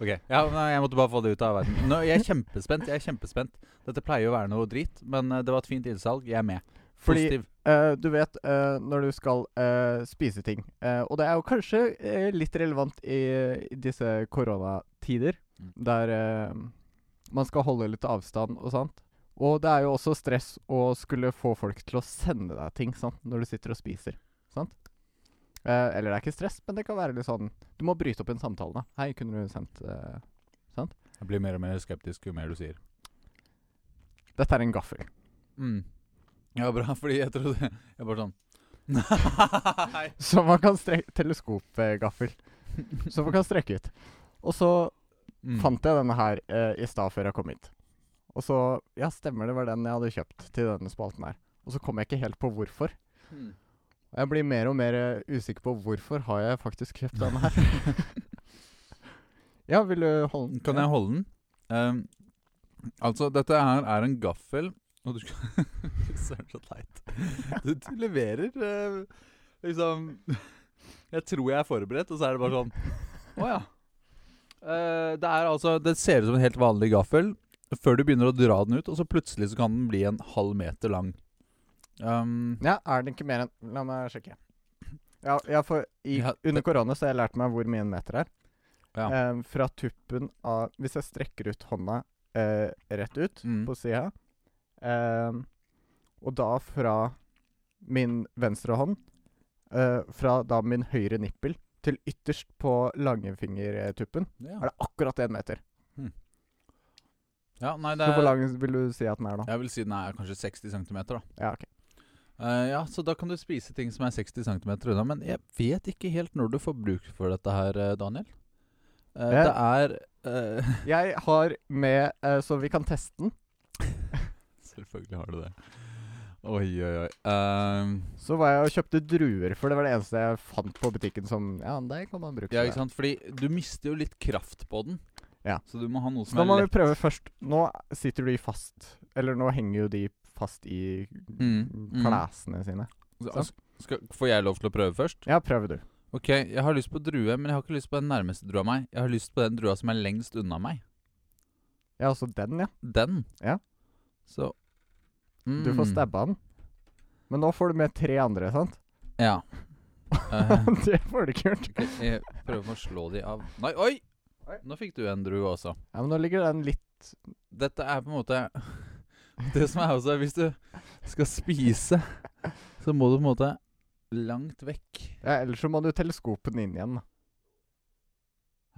[SPEAKER 2] ok, ja, nei, Jeg måtte bare få det ut av verden. Nå, jeg er kjempespent. jeg er kjempespent Dette pleier jo å være noe drit, men eh, det var et fint innsalg. Jeg er med.
[SPEAKER 1] fordi
[SPEAKER 2] Positiv.
[SPEAKER 1] Eh, du vet eh, når du skal eh, spise ting. Eh, og det er jo kanskje eh, litt relevant i, i disse koronatider,
[SPEAKER 2] Mm.
[SPEAKER 1] der eh, man skal holde litt avstand og sånt. Og det er jo også stress å skulle få folk til å sende deg ting sant? når du sitter og spiser. Sant? Eh, eller det er ikke stress, men det kan være litt sånn Du må bryte opp en samtale. da. 'Hei, kunne du sendt eh,
[SPEAKER 2] Jeg blir mer og mer skeptisk jo mer du sier.
[SPEAKER 1] Dette er en gaffel. [LAUGHS]
[SPEAKER 2] Mm. Ja, bra, [LAUGHS] fordi jeg trodde Jeg bare sånn Nei!
[SPEAKER 1] Som man kan strekke Teleskopgaffel. Som man kan strekke ut. Og så
[SPEAKER 2] Mm.
[SPEAKER 1] fant jeg denne her eh, i stad før jeg kom hit. Og så Ja, stemmer det var den jeg hadde kjøpt til denne spalten her. Og så kom jeg ikke helt på hvorfor.
[SPEAKER 2] Mm.
[SPEAKER 1] Og jeg blir mer og mer eh, usikker på hvorfor har jeg faktisk kjøpt denne her.
[SPEAKER 2] [LAUGHS]
[SPEAKER 1] ja, vil du holde den?
[SPEAKER 2] Kan jeg holde den? Ehm, altså, dette her er en gaffel Og du skal [LAUGHS] Søren, så teit. Du, du leverer eh, liksom [LAUGHS] Jeg tror jeg er forberedt, og så er det bare sånn Å ja. Eh, det er altså Det ser ut som en helt vanlig gaffel før du begynner å dra den ut, og så plutselig så kan den bli en halv meter lang. Um,
[SPEAKER 1] Ja, er den ikke mer enn La meg sjekke. Ja, ja for i,
[SPEAKER 2] Ja, det-
[SPEAKER 1] under korona så har jeg lært meg hvor mye en meter er.
[SPEAKER 2] Ja.
[SPEAKER 1] Eh, fra tuppen av Hvis jeg strekker ut hånda eh, rett ut,
[SPEAKER 2] mm.
[SPEAKER 1] på sida. Ehm, og da fra min venstre hånd eh, Fra da min høyre nippel til ytterst på langfingertuppen
[SPEAKER 2] ja.
[SPEAKER 1] er det akkurat én meter.
[SPEAKER 2] ja, nei, det
[SPEAKER 1] Så hvor
[SPEAKER 2] er,
[SPEAKER 1] lang vil du si at den er, da?
[SPEAKER 2] Jeg vil si den er kanskje 60 cm, da.
[SPEAKER 1] Ja, ok.
[SPEAKER 2] Eh, ja, så da kan du spise ting som er 60 cm unna. Men jeg vet ikke helt når du får bruk for dette her, eh, Daniel. Eh,
[SPEAKER 1] Ja.
[SPEAKER 2] Det er eh, [LAUGHS]
[SPEAKER 1] Jeg har med, eh, så vi kan teste den,
[SPEAKER 2] Selvfølgelig har du det. Oi, oi, oi. Ehm,
[SPEAKER 1] så var jeg og kjøpte druer, for det var det eneste jeg fant på butikken som Ja, det kan man bruke.
[SPEAKER 2] ja,
[SPEAKER 1] til
[SPEAKER 2] ikke
[SPEAKER 1] det.
[SPEAKER 2] sant? Fordi du mister jo litt kraft på den.
[SPEAKER 1] Ja.
[SPEAKER 2] Så du må ha noe
[SPEAKER 1] Så
[SPEAKER 2] som
[SPEAKER 1] da
[SPEAKER 2] er
[SPEAKER 1] må vi
[SPEAKER 2] lett.
[SPEAKER 1] prøve først Nå sitter de fast. Eller nå henger jo de fast i
[SPEAKER 2] Mm, mm.
[SPEAKER 1] klesene sine.
[SPEAKER 2] Så- altså, Skal, får jeg lov til å prøve først?
[SPEAKER 1] Ja, prøv du.
[SPEAKER 2] Ok, jeg har lyst på drue, men jeg har ikke lyst på den nærmeste drua meg. Jeg har lyst på den drua som er lengst unna meg.
[SPEAKER 1] Ja, altså den, ja.
[SPEAKER 2] Den.
[SPEAKER 1] Ja.
[SPEAKER 2] Så
[SPEAKER 1] Du får
[SPEAKER 2] Mm.
[SPEAKER 1] stabba han. Men nå får du med tre andre, sant?
[SPEAKER 2] Ja. Eh,
[SPEAKER 1] [LAUGHS] det får du ikke gjort.
[SPEAKER 2] Ok, Jeg prøver å slå de av Nei, oi!
[SPEAKER 1] Oi.
[SPEAKER 2] Nå fikk du en drue også.
[SPEAKER 1] Ja, men nå ligger den litt
[SPEAKER 2] Dette er på en måte [LAUGHS] Det som er også Hvis du skal spise, så må du på en måte langt vekk.
[SPEAKER 1] Ja, ellers så må du teleskopen inn igjen. da.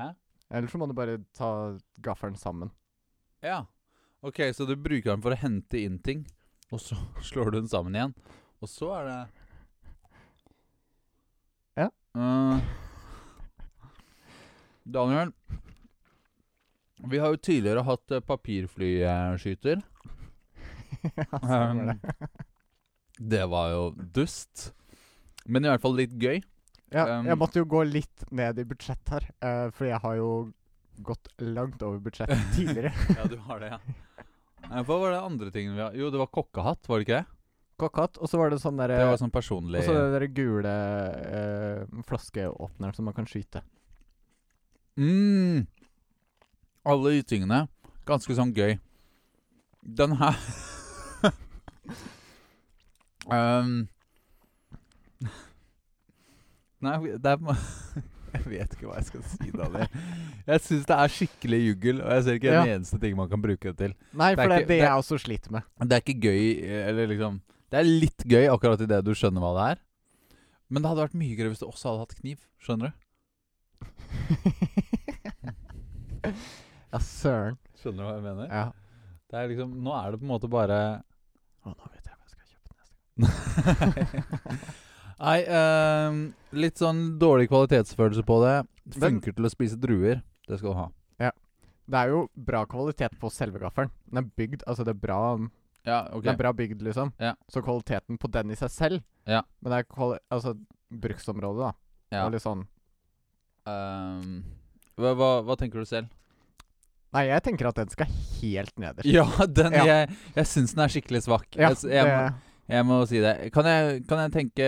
[SPEAKER 2] Hæ?
[SPEAKER 1] Ellers så må du bare ta gaffelen sammen. [LAUGHS]
[SPEAKER 2] Ja. Ok, så du bruker den for å hente inn ting, og så [LAUGHS] slår du den sammen igjen. Og så er det
[SPEAKER 1] Ja.
[SPEAKER 2] Eh, Daniel, vi har jo tidligere hatt eh, papirflyskyter.
[SPEAKER 1] Ja, stemmer det.
[SPEAKER 2] Um, det var jo dust. Men i hvert fall litt gøy.
[SPEAKER 1] Ja, jeg
[SPEAKER 2] um,
[SPEAKER 1] måtte jo gå litt ned i budsjett her, eh, fordi jeg har jo gått langt over budsjett
[SPEAKER 2] [LAUGHS]
[SPEAKER 1] tidligere.
[SPEAKER 2] [LAUGHS] Ja, du har det, ja. Nei, Hva var det andre tingene vi har Jo, det var kokkehatt, var det ikke det?
[SPEAKER 1] Kokkatt, og så var det sånn derre
[SPEAKER 2] Det var sånn personlig
[SPEAKER 1] Og så den der gule eh, flaskeåpneren som man kan skyte.
[SPEAKER 2] mm, Alle de tingene. Ganske sånn gøy. Den her [LAUGHS] um, Nei, vi- det er [LAUGHS] på- Jeg vet ikke hva jeg skal si, Daniel. Jeg syns det er skikkelig juggel, og jeg ser ikke en eneste ting man kan bruke det til.
[SPEAKER 1] Nei,
[SPEAKER 2] Det er
[SPEAKER 1] for det er
[SPEAKER 2] ikke-
[SPEAKER 1] det
[SPEAKER 2] det er-
[SPEAKER 1] jeg også sliter med.
[SPEAKER 2] Det er ikke gøy Eller liksom Det er litt gøy akkurat i det du skjønner hva det er. Men det hadde vært mye gøyere hvis du også hadde hatt kniv. Skjønner du?
[SPEAKER 1] [LAUGHS] Ja, søren.
[SPEAKER 2] Skjønner du hva jeg mener?
[SPEAKER 1] Ja.
[SPEAKER 2] Det er liksom Nå er det på en måte bare [LAUGHS]
[SPEAKER 1] Å, nå vet jeg hva jeg skal kjøpe neste gang.
[SPEAKER 2] Nei, ehm, litt sånn dårlig kvalitetsfølelse på det.
[SPEAKER 1] Men-
[SPEAKER 2] Funker til å spise druer. Det skal du ha.
[SPEAKER 1] Det er jo bra kvalitet på selve gaffelen. Den er bygd, altså det er bra
[SPEAKER 2] Ja,
[SPEAKER 1] Den er bra bygd, liksom.
[SPEAKER 2] Ja.
[SPEAKER 1] Så kvaliteten på den i seg selv
[SPEAKER 2] Ja.
[SPEAKER 1] Men det er kvali altså bruksområdet, da.
[SPEAKER 2] Ja.
[SPEAKER 1] Og litt sånn
[SPEAKER 2] Ehm, hva, hva, hva tenker du selv?
[SPEAKER 1] Nei, jeg tenker at den skal helt nederst.
[SPEAKER 2] Ja, den
[SPEAKER 1] Ja.
[SPEAKER 2] Jeg, jeg syns den er skikkelig svak.
[SPEAKER 1] Ja,
[SPEAKER 2] jeg, s- jeg, må- Jeg må si det. Kan jeg, kan jeg tenke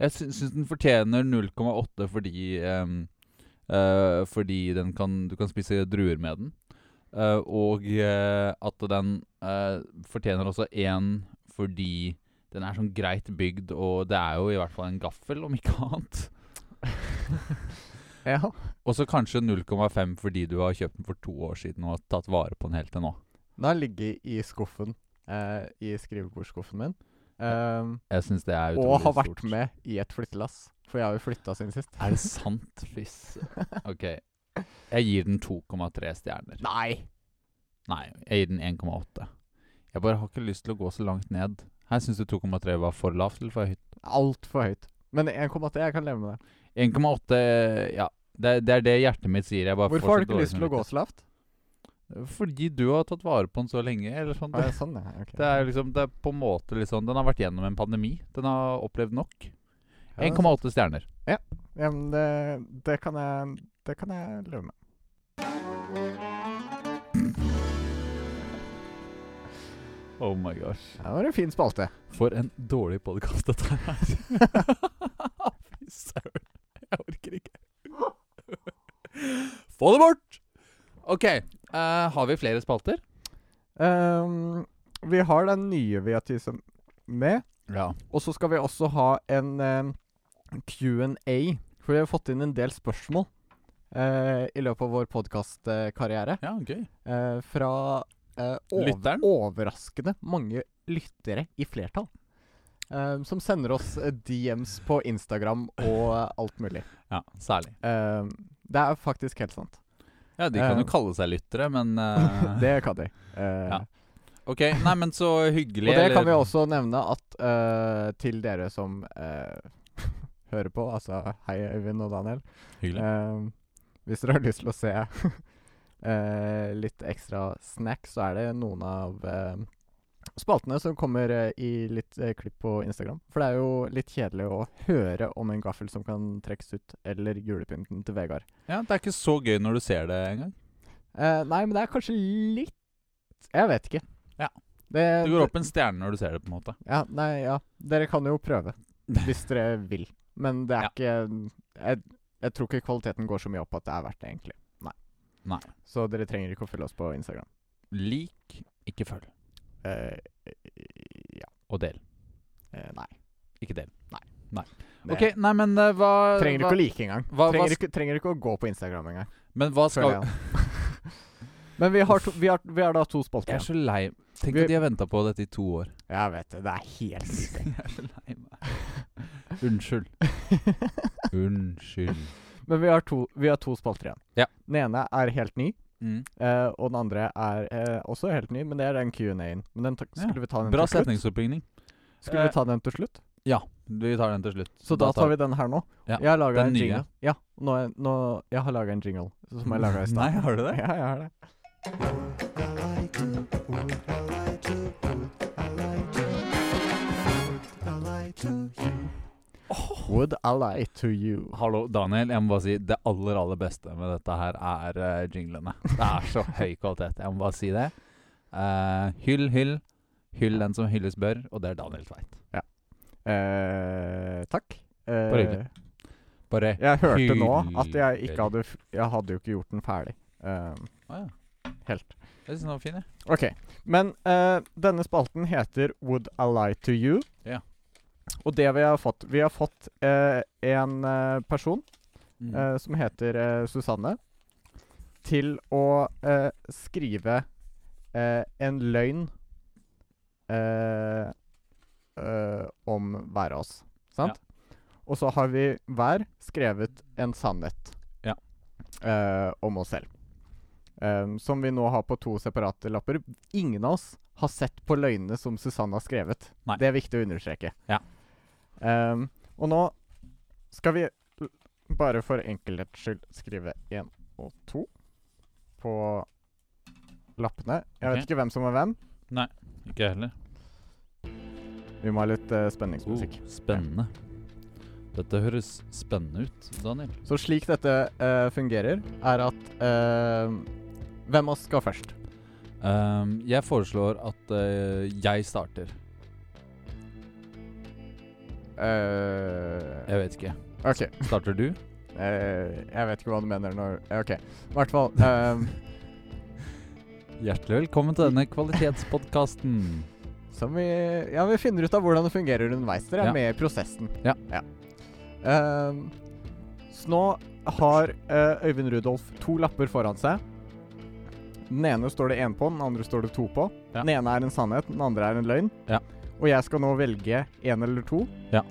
[SPEAKER 2] Jeg sy- syns den fortjener 0,8 fordi ehm, eh, Fordi den kan, du kan spise druer med den. Eh, og eh, at den eh, fortjener også én fordi den er sånn greit bygd, og det er jo i hvert fall en gaffel, om ikke [LAUGHS] annet.
[SPEAKER 1] det, ja.
[SPEAKER 2] Og så kanskje 0,5 fordi du har kjøpt den for to år siden og har tatt vare på den helt til nå.
[SPEAKER 1] Den har ligget i skuffen. eh, I skrivebordsskuffen min. Um,
[SPEAKER 2] Jeg synes det er utrolig
[SPEAKER 1] og har vært
[SPEAKER 2] stort.
[SPEAKER 1] med i et flyttelass. For jeg har jo flytta siden sist.
[SPEAKER 2] Er det sant? Fy
[SPEAKER 1] [LAUGHS]
[SPEAKER 2] søren. Ok. Jeg gir den 2,3 stjerner.
[SPEAKER 1] Nei!
[SPEAKER 2] Nei, jeg gir den 1,8. Jeg bare har ikke lyst til å gå så langt ned. Her syns du 2,3 var for lavt eller for høyt?
[SPEAKER 1] Altfor høyt. Men 1,8 jeg kan leve med det.
[SPEAKER 2] 1,8 Ja, det, er- det er det hjertet mitt sier. Jeg bare
[SPEAKER 1] Hvorfor
[SPEAKER 2] får
[SPEAKER 1] har du
[SPEAKER 2] så
[SPEAKER 1] ikke
[SPEAKER 2] dårlig
[SPEAKER 1] lyst til å gå så lavt?
[SPEAKER 2] samvittighet. Fordi du har tatt vare på den så lenge. Eller sånn.
[SPEAKER 1] Ah, ja,
[SPEAKER 2] det,
[SPEAKER 1] sånn, ja. ok.
[SPEAKER 2] det er liksom Det er på en måte litt sånn Den har vært gjennom en pandemi. Den har opplevd nok.
[SPEAKER 1] Ja, det er
[SPEAKER 2] 1,8 stjerner.
[SPEAKER 1] sant. Ja, men det, det, kan jeg, det kan jeg leve med.
[SPEAKER 2] Oh my gosh.
[SPEAKER 1] Det var en fin spalte.
[SPEAKER 2] For en dårlig podkast dette her [LAUGHS] er. Fy søren. Jeg orker ikke. Få det bort! OK. eh, har vi flere spalter?
[SPEAKER 1] Ehm, vi har den nye vi har tisa med.
[SPEAKER 2] Ja.
[SPEAKER 1] Og så skal vi også ha en ehm, Q&A. For vi har fått inn en del spørsmål eh, i løpet av vår podkastkarriere.
[SPEAKER 2] Ja, gøy.
[SPEAKER 1] eh, fra eh, over,
[SPEAKER 2] Lytteren?
[SPEAKER 1] overraskende mange lyttere i flertall. eh, som sender oss eh, DMs på Instagram og eh, alt mulig.
[SPEAKER 2] Ja, særlig.
[SPEAKER 1] Eh, det er faktisk helt sant.
[SPEAKER 2] Ja, De kan
[SPEAKER 1] Eh.
[SPEAKER 2] jo kalle seg lyttere, [LAUGHS] men eh,
[SPEAKER 1] Det kan de. Eh,
[SPEAKER 2] Ja. OK. Nei, men så hyggelig.
[SPEAKER 1] Og det kan
[SPEAKER 2] eller-
[SPEAKER 1] vi også nevne at eh, til dere som eh, [LAUGHS] hører på, altså hei Øyvind og Daniel
[SPEAKER 2] Hyggelig.
[SPEAKER 1] eh, Hvis dere har lyst til å se [LAUGHS] eh, litt ekstra snack, så er det noen av eh, spaltene som kommer eh, i litt eh, klipp på Instagram. For det er jo litt kjedelig å høre om en gaffel som kan trekkes ut, eller julepynten til Vegard.
[SPEAKER 2] Ja, Det er ikke så gøy når du ser det engang.
[SPEAKER 1] Eh, nei, men det er kanskje litt Jeg vet ikke.
[SPEAKER 2] Ja.
[SPEAKER 1] Det,
[SPEAKER 2] Det går opp en stjerne når du ser det, på en måte.
[SPEAKER 1] Ja, nei, ja. Dere kan jo prøve, hvis dere vil. Men det er
[SPEAKER 2] Ja.
[SPEAKER 1] ikke jeg, jeg tror ikke kvaliteten går så mye opp at det er verdt det, egentlig. Nei.
[SPEAKER 2] Nei.
[SPEAKER 1] Så dere trenger ikke å følge oss på Instagram.
[SPEAKER 2] Lik, ikke følg.
[SPEAKER 1] Eh, ja.
[SPEAKER 2] Og del.
[SPEAKER 1] Eh, nei.
[SPEAKER 2] Ikke del.
[SPEAKER 1] Nei.
[SPEAKER 2] Nei.
[SPEAKER 1] Det-
[SPEAKER 2] OK, nei, men eh, hva
[SPEAKER 1] Trenger
[SPEAKER 2] hva,
[SPEAKER 1] ikke å like engang.
[SPEAKER 2] hva- hva
[SPEAKER 1] trenger,
[SPEAKER 2] sk-
[SPEAKER 1] ikke, trenger ikke å gå på Instagram engang.
[SPEAKER 2] Men hva skal
[SPEAKER 1] Føler jeg. [LAUGHS] Men vi har, to, vi, har, vi har da to spalter.
[SPEAKER 2] Jeg er
[SPEAKER 1] igjen.
[SPEAKER 2] så lei. Tenk
[SPEAKER 1] Vi-
[SPEAKER 2] at de har venta på dette i to år.
[SPEAKER 1] [LAUGHS] Jeg vet det. Det er helt sykt. [LAUGHS]
[SPEAKER 2] Jeg er så lei meg. Unnskyld. Unnskyld.
[SPEAKER 1] Men vi har to, vi har to spalter igjen.
[SPEAKER 2] Ja.
[SPEAKER 1] Den ene er helt ny,
[SPEAKER 2] Mm.
[SPEAKER 1] eh, og den andre er eh, også helt ny, men det er den Q&A-en. Men den ta
[SPEAKER 2] Ja.
[SPEAKER 1] skulle vi ta den
[SPEAKER 2] Bra
[SPEAKER 1] til slutt?
[SPEAKER 2] setningsoppbygning.
[SPEAKER 1] Skulle
[SPEAKER 2] Eh,
[SPEAKER 1] vi ta den til slutt?
[SPEAKER 2] Ja, vi tar den til slutt.
[SPEAKER 1] Så da tar vi den her nå.
[SPEAKER 2] Ja,
[SPEAKER 1] Jeg har laga
[SPEAKER 2] den
[SPEAKER 1] en
[SPEAKER 2] nye.
[SPEAKER 1] jingle. Ja, nå, er- nå, jeg har laga en jingle som jeg laga i stad.
[SPEAKER 2] [LAUGHS] Nei, har du det?
[SPEAKER 1] Ja, jeg har det. Would I lie to you?
[SPEAKER 2] Hallo, Daniel. Jeg må bare si det aller, aller beste med dette her er eh, jinglene. Det er så høy kvalitet. Jeg må bare si det. Eh, hyll, hyll. Hyll den som hylles bør, og det er Daniel Tveit.
[SPEAKER 1] Eh, takk. Eh,
[SPEAKER 2] Bare hyggelig. Bare
[SPEAKER 1] jeg hørte nå at jeg ikke hadde f Jeg hadde jo ikke gjort den ferdig. Eh,
[SPEAKER 2] Å, ja.
[SPEAKER 1] helt.
[SPEAKER 2] Jeg syns den var fin, jeg.
[SPEAKER 1] OK. Men eh, denne spalten heter Would I lie to you?
[SPEAKER 2] Ja.
[SPEAKER 1] Og det vi har fått Vi har fått eh, en eh, person
[SPEAKER 2] Mm.
[SPEAKER 1] eh, som heter eh, Susanne, til å eh, skrive eh, en løgn eh, eh, om hver av oss. Sant? Og så har vi hver skrevet en sannhet
[SPEAKER 2] Ja.
[SPEAKER 1] eh, om oss selv. Ehm, som vi nå har på to separate lapper. Ingen av oss har sett på løgnene som Susanne har skrevet.
[SPEAKER 2] Nei.
[SPEAKER 1] Det er viktig å understreke.
[SPEAKER 2] Ja.
[SPEAKER 1] Ehm, og nå skal vi l- bare for enkelhets skyld skrive én og to på lappene. Jeg
[SPEAKER 2] Ok.
[SPEAKER 1] vet ikke hvem som er hvem.
[SPEAKER 2] Ikke jeg heller.
[SPEAKER 1] Vi må ha litt eh,
[SPEAKER 2] Oh,
[SPEAKER 1] spenningsmusikk.
[SPEAKER 2] spennende. Dette høres spennende ut, Daniel.
[SPEAKER 1] Så slik dette eh, fungerer, er at eh, Hvem av oss skal først?
[SPEAKER 2] Ehm, jeg foreslår at eh, jeg starter.
[SPEAKER 1] Eh,
[SPEAKER 2] Jeg vet ikke.
[SPEAKER 1] OK.
[SPEAKER 2] Starter du?
[SPEAKER 1] Eh, jeg vet ikke hva du mener når OK. I hvert fall eh,
[SPEAKER 2] Hjertelig velkommen til denne kvalitetspodkasten.
[SPEAKER 1] Som vi Ja, vi finner ut av hvordan det fungerer underveis. Dere er
[SPEAKER 2] Ja.
[SPEAKER 1] med i prosessen.
[SPEAKER 2] Ja.
[SPEAKER 1] Ehm, så nå har eh, Øyvind Rudolf to lapper foran seg. Den ene står det én på, den andre står det to på.
[SPEAKER 2] Ja.
[SPEAKER 1] Den ene er en sannhet, den andre er en løgn.
[SPEAKER 2] Ja.
[SPEAKER 1] Og jeg skal nå velge én eller to.
[SPEAKER 2] Ja.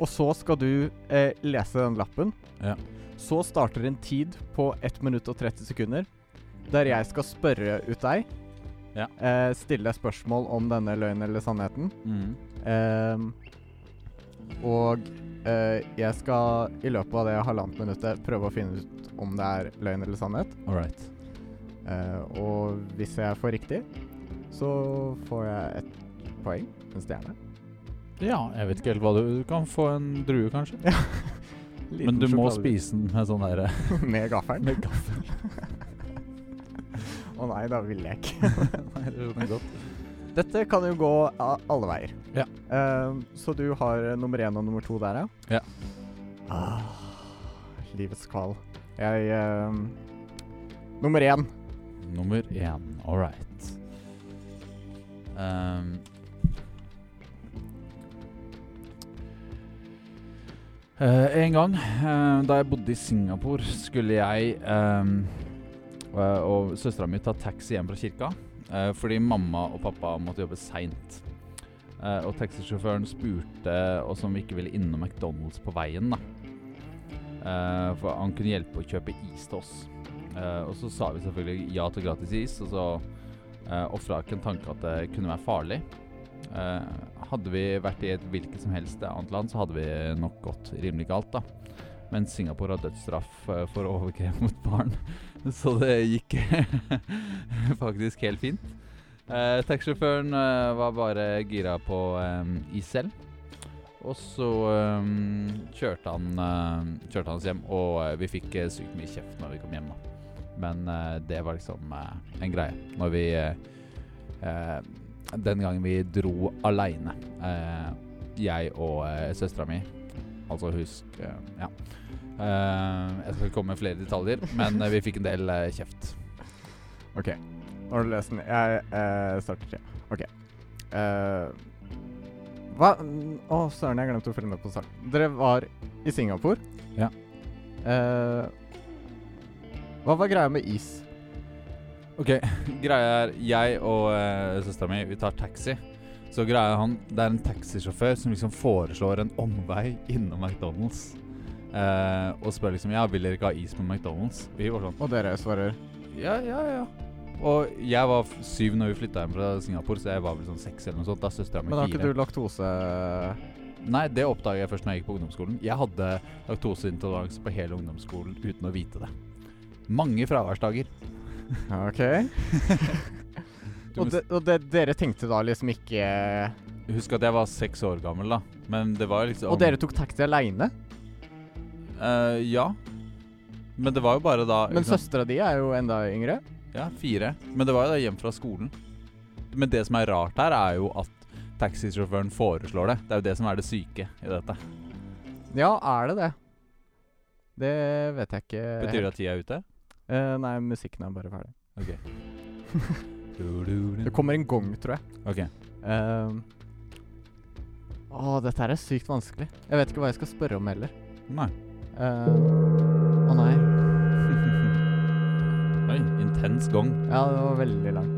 [SPEAKER 1] Og så skal du eh, lese den lappen.
[SPEAKER 2] Ja.
[SPEAKER 1] Så starter en tid på 1 minutt og 30 sekunder der jeg skal spørre ut deg eh, stille spørsmål om denne løgnen eller sannheten.
[SPEAKER 2] Mm.
[SPEAKER 1] Ehm, og eh, jeg skal i løpet av det halvannet minuttet prøve å finne ut om det er løgn eller sannhet.
[SPEAKER 2] All right.
[SPEAKER 1] Eh, og hvis jeg får riktig, så får jeg et poeng. En stjerne.
[SPEAKER 2] Ja, jeg vet ikke helt hva du Du kan få en drue, kanskje. Men
[SPEAKER 1] Liten
[SPEAKER 2] du må
[SPEAKER 1] sjokolade-
[SPEAKER 2] spise den med sånn derre
[SPEAKER 1] [LAUGHS] Med gaffelen?
[SPEAKER 2] Med
[SPEAKER 1] gaffel. [LAUGHS] Å nei, da ville jeg ikke.
[SPEAKER 2] [LAUGHS] Nei, det sånn skjønner jeg godt.
[SPEAKER 1] Dette kan jo gå a- alle veier.
[SPEAKER 2] Ja.
[SPEAKER 1] Ehm, så du har eh, nummer én og nummer to der,
[SPEAKER 2] Ja.
[SPEAKER 1] Ah, livets kval. Jeg ehm, Nummer én.
[SPEAKER 2] Nummer én. All right. Ehm. Eh, en gang eh, da jeg bodde i Singapore, skulle jeg ehm, eh, og søstera mi ta taxi hjem fra kirka. eh, fordi mamma og pappa måtte jobbe seint. Eh, og taxisjåføren spurte oss om vi ikke ville innom McDonald's på veien. da Eh, For han kunne hjelpe å kjøpe is til oss. Eh, og så sa vi selvfølgelig ja til gratis is, og så uh, ofra ikke en tanke at det kunne være farlig. Eh, hadde vi vært i et hvilket som helst annet land, så hadde vi nok gått rimelig galt, da. Men Singapore har dødsstraff eh, for overgrep mot barn, [LAUGHS] så det gikk [LAUGHS] faktisk helt fint. Uh, Taxisjåføren eh, var bare gira på eh, is selv. Og så eh, kjørte, han, eh, kjørte han oss hjem, og eh, vi fikk eh, sykt mye kjeft når vi kom hjem. da men eh, det var liksom eh, en greie når vi eh, eh, Den gangen vi dro aleine, jeg og uh, søstera mi. Altså husk eh, Ja. Eh, jeg skal ikke komme med flere detaljer, men eh, vi fikk en del eh, kjeft.
[SPEAKER 1] OK. Nå har du lest den. Jeg eh, starter tre. OK. Eh, hva mm, Å, søren, jeg glemte å følge med på starten. Dere var i Singapore.
[SPEAKER 2] Ja.
[SPEAKER 1] Eh, hva var greia med is?
[SPEAKER 2] eh, Ok, greia er jeg og uh, søstera mi, vi tar taxi. Så greier han Det er en taxisjåfør som liksom foreslår en omvei innom McDonald's. Eh, og spør liksom Ja, vil dere ikke ha is på McDonald's? Vi var sånn
[SPEAKER 1] Og dere svarer
[SPEAKER 2] Ja, ja, ja. Og jeg var f- syv når vi flytta hjem fra Singapore, så jeg var vel sånn seks eller noe sånt. Da søstera mi
[SPEAKER 1] Men har ikke
[SPEAKER 2] fire.
[SPEAKER 1] du laktose
[SPEAKER 2] Nei, det oppdaga jeg først når jeg gikk på ungdomsskolen. Jeg hadde laktoseintoleranse på hele ungdomsskolen uten å vite det. Mange fraværsdager.
[SPEAKER 1] OK?
[SPEAKER 2] [LAUGHS] Du
[SPEAKER 1] Og,
[SPEAKER 2] må
[SPEAKER 1] de, og de, dere tenkte da liksom ikke
[SPEAKER 2] s- huske at jeg var seks år gammel, da. Men det var liksom
[SPEAKER 1] Og dere tok taxi aleine?
[SPEAKER 2] Eh, ja. Men det var jo bare da
[SPEAKER 1] Men
[SPEAKER 2] ikke sant?
[SPEAKER 1] søstera di er jo enda yngre.
[SPEAKER 2] Ja, fire. Men det var jo da hjem fra skolen. Men det som er rart her, er jo at taxisjåføren foreslår det. Det er jo det som er det syke i dette.
[SPEAKER 1] Ja, er det det? Det vet jeg ikke.
[SPEAKER 2] Betyr det at tida er ute?
[SPEAKER 1] Eh, nei, musikken er bare ferdig.
[SPEAKER 2] Ok.
[SPEAKER 1] Det kommer en gong, tror jeg.
[SPEAKER 2] Ok.
[SPEAKER 1] Um, å, dette her er sykt vanskelig. Jeg vet ikke hva jeg skal spørre om heller.
[SPEAKER 2] Nei.
[SPEAKER 1] Eh, Å nei.
[SPEAKER 2] Oi, intens gong.
[SPEAKER 1] Ja, det var veldig lang.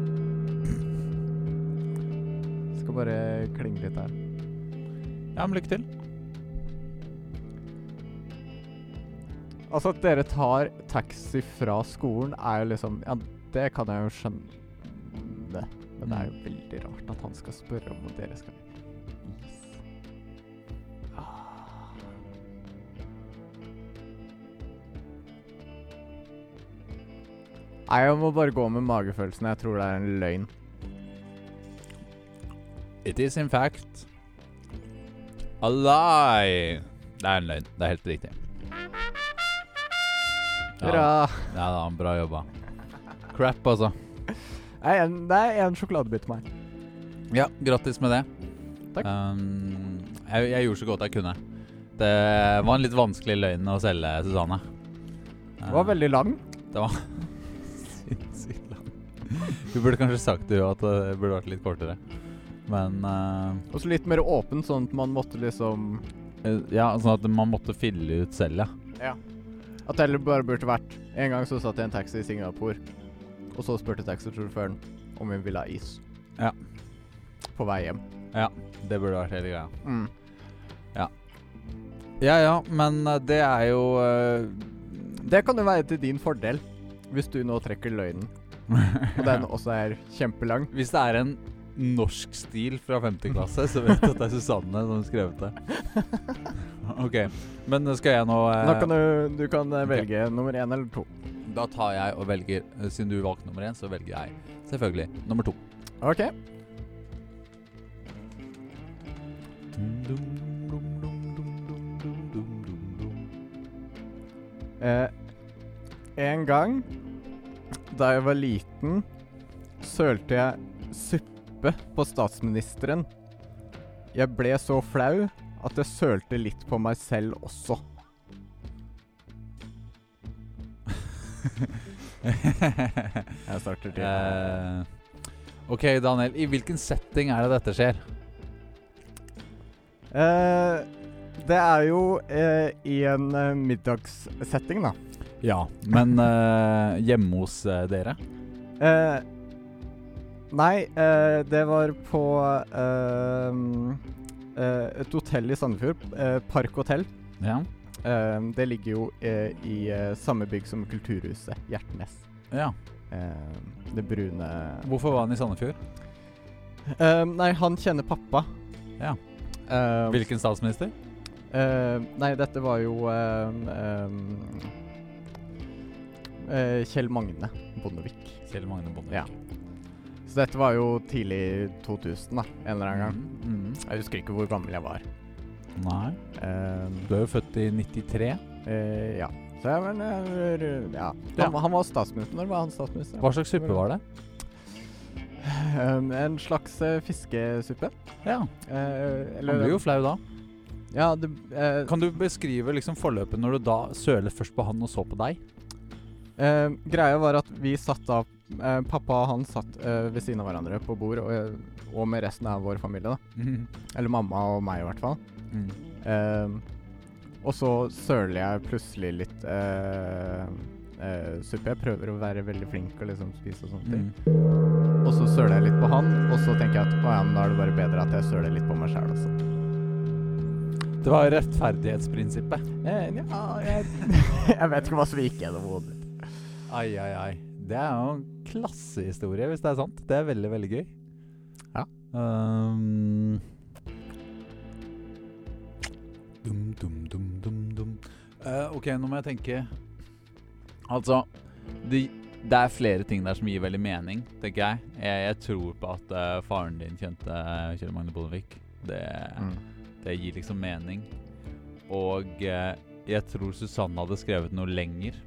[SPEAKER 1] Skal bare klinge litt her.
[SPEAKER 2] Ja, men lykke til.
[SPEAKER 1] Altså, at dere tar taxi fra skolen, er jo liksom Ja, det kan jeg jo skjønne. Men det er jo veldig rart at han skal spørre om dere skal is. Ah. Nei, jeg må bare gå med magefølelsen. Jeg tror det er en løgn.
[SPEAKER 2] It is in fact a lie. Det er en løgn. Det er helt riktig.
[SPEAKER 1] Hurra!
[SPEAKER 2] Ja, ja da, bra jobba. Crap, altså.
[SPEAKER 1] Nei, en- Det er en sjokoladebit til meg.
[SPEAKER 2] Ja, grattis med det.
[SPEAKER 1] Takk.
[SPEAKER 2] Um, jeg, jeg gjorde så godt jeg kunne. Det var en litt vanskelig løgn å selge, Susanne.
[SPEAKER 1] Den var veldig lang.
[SPEAKER 2] [LAUGHS] sinnssykt lang. Du burde kanskje sagt det, jo, at det burde vært litt kortere. Men eh,
[SPEAKER 1] Og så litt mer åpen, sånn at man måtte liksom
[SPEAKER 2] Ja, sånn at man måtte fylle ut selv, ja.
[SPEAKER 1] At det heller bare burde vært En gang så satt jeg i en taxi i Singapore, og så spurte taxisjåføren om hun ville ha is.
[SPEAKER 2] Ja.
[SPEAKER 1] På vei hjem.
[SPEAKER 2] Det burde vært hele greia.
[SPEAKER 1] Mm.
[SPEAKER 2] Ja ja, men eh, det er jo eh,
[SPEAKER 1] Det kan jo være til din fordel, hvis du nå trekker løgnen. Og
[SPEAKER 2] [LAUGHS]
[SPEAKER 1] den også er kjempelang.
[SPEAKER 2] Hvis det er en norsk stil fra 5. klasse, så vet du at det er Susanne som har skrevet det. [LAUGHS] OK. Men skal jeg nå eh,
[SPEAKER 1] Da kan du, du kan eh,
[SPEAKER 2] ok.
[SPEAKER 1] velge nummer én eller to.
[SPEAKER 2] Da tar jeg og velger eh, Siden du valgte nummer én, så velger jeg selvfølgelig nummer [LAUGHS] to.
[SPEAKER 1] OK. Eh, en gang da jeg var liten, sølte jeg suppe på statsministeren. Jeg ble så flau at jeg sølte litt på meg selv også. Jeg starter til.
[SPEAKER 2] Eh, OK, Daniel. I hvilken setting er det dette skjer?
[SPEAKER 1] Eh, det er jo eh, i en eh, middagssetting, da.
[SPEAKER 2] Ja, men [LAUGHS] eh, hjemme hos eh, dere?
[SPEAKER 1] Eh, nei, eh, det var på eh, eh, et hotell i Sandefjord. Eh, Park hotell.
[SPEAKER 2] Ja.
[SPEAKER 1] Eh, det ligger jo eh, i eh, samme bygg som Kulturhuset, Hjertnes.
[SPEAKER 2] ja.
[SPEAKER 1] Eh, det brune
[SPEAKER 2] Hvorfor var han i Sandefjord?
[SPEAKER 1] Eh, Nei, han kjenner pappa.
[SPEAKER 2] Ja.
[SPEAKER 1] Eh,
[SPEAKER 2] Hvilken statsminister?
[SPEAKER 1] eh, nei, dette var jo eh, eh, eh, Kjell Magne Bondevik.
[SPEAKER 2] Kjell Magne Bondevik.
[SPEAKER 1] Ja. Så dette var jo tidlig 2000, da. En eller annen gang.
[SPEAKER 2] Mm,
[SPEAKER 1] Jeg husker ikke hvor gammel jeg var.
[SPEAKER 2] mm. Nei.
[SPEAKER 1] Ehm,
[SPEAKER 2] Du er jo født i 93.
[SPEAKER 1] eh, ja. Så jeg var en- ja. Han,
[SPEAKER 2] Ja.
[SPEAKER 1] han var statsminister. Når var han statsminister?
[SPEAKER 2] Hva slags suppe var det?
[SPEAKER 1] Ehm, en slags eh, fiskesuppe.
[SPEAKER 2] Ja,
[SPEAKER 1] Eh,
[SPEAKER 2] Man blir jo flau da.
[SPEAKER 1] Ja, det, eh,
[SPEAKER 2] Kan du beskrive liksom forløpet når du da søler først på han og så på [LAUGHS] deg?
[SPEAKER 1] eh, greia var at vi satt da eh, Pappa og han satt eh, ved siden av hverandre på bord, og, eh, og med resten av vår familie. da Eller mamma og meg, i hvert fall.
[SPEAKER 2] Mm.
[SPEAKER 1] Ehm, og så søler jeg plutselig litt eh,
[SPEAKER 2] Mm.
[SPEAKER 1] Mm. eh, suppe. Jeg prøver å være veldig flink og liksom spise og sånne ting. Og så søler jeg litt på han, og så så tenker jeg at å ja, men da er det bare bedre at jeg søler litt på meg altså.» sjæl også.
[SPEAKER 2] Det var rettferdighetsprinsippet.
[SPEAKER 1] Eh, ja, jeg, [LAUGHS] jeg vet ikke hva som gikk gjennom hodet.
[SPEAKER 2] Ai, ai, ai. Det er jo en klassehistorie, hvis det er sant. Det er veldig, veldig gøy.
[SPEAKER 1] Ja.
[SPEAKER 2] Ehm. dum, dum, dum, dum, dum. Eh, ok, nå må jeg tenke Altså, det, det er flere ting der som gir veldig mening, tenker jeg. Jeg, jeg tror på at eh, faren din kjente eh, Kjell Magne Bondevik. Det,
[SPEAKER 1] Mm.
[SPEAKER 2] det gir liksom mening. Og eh, jeg tror Susanne hadde skrevet noe lenger.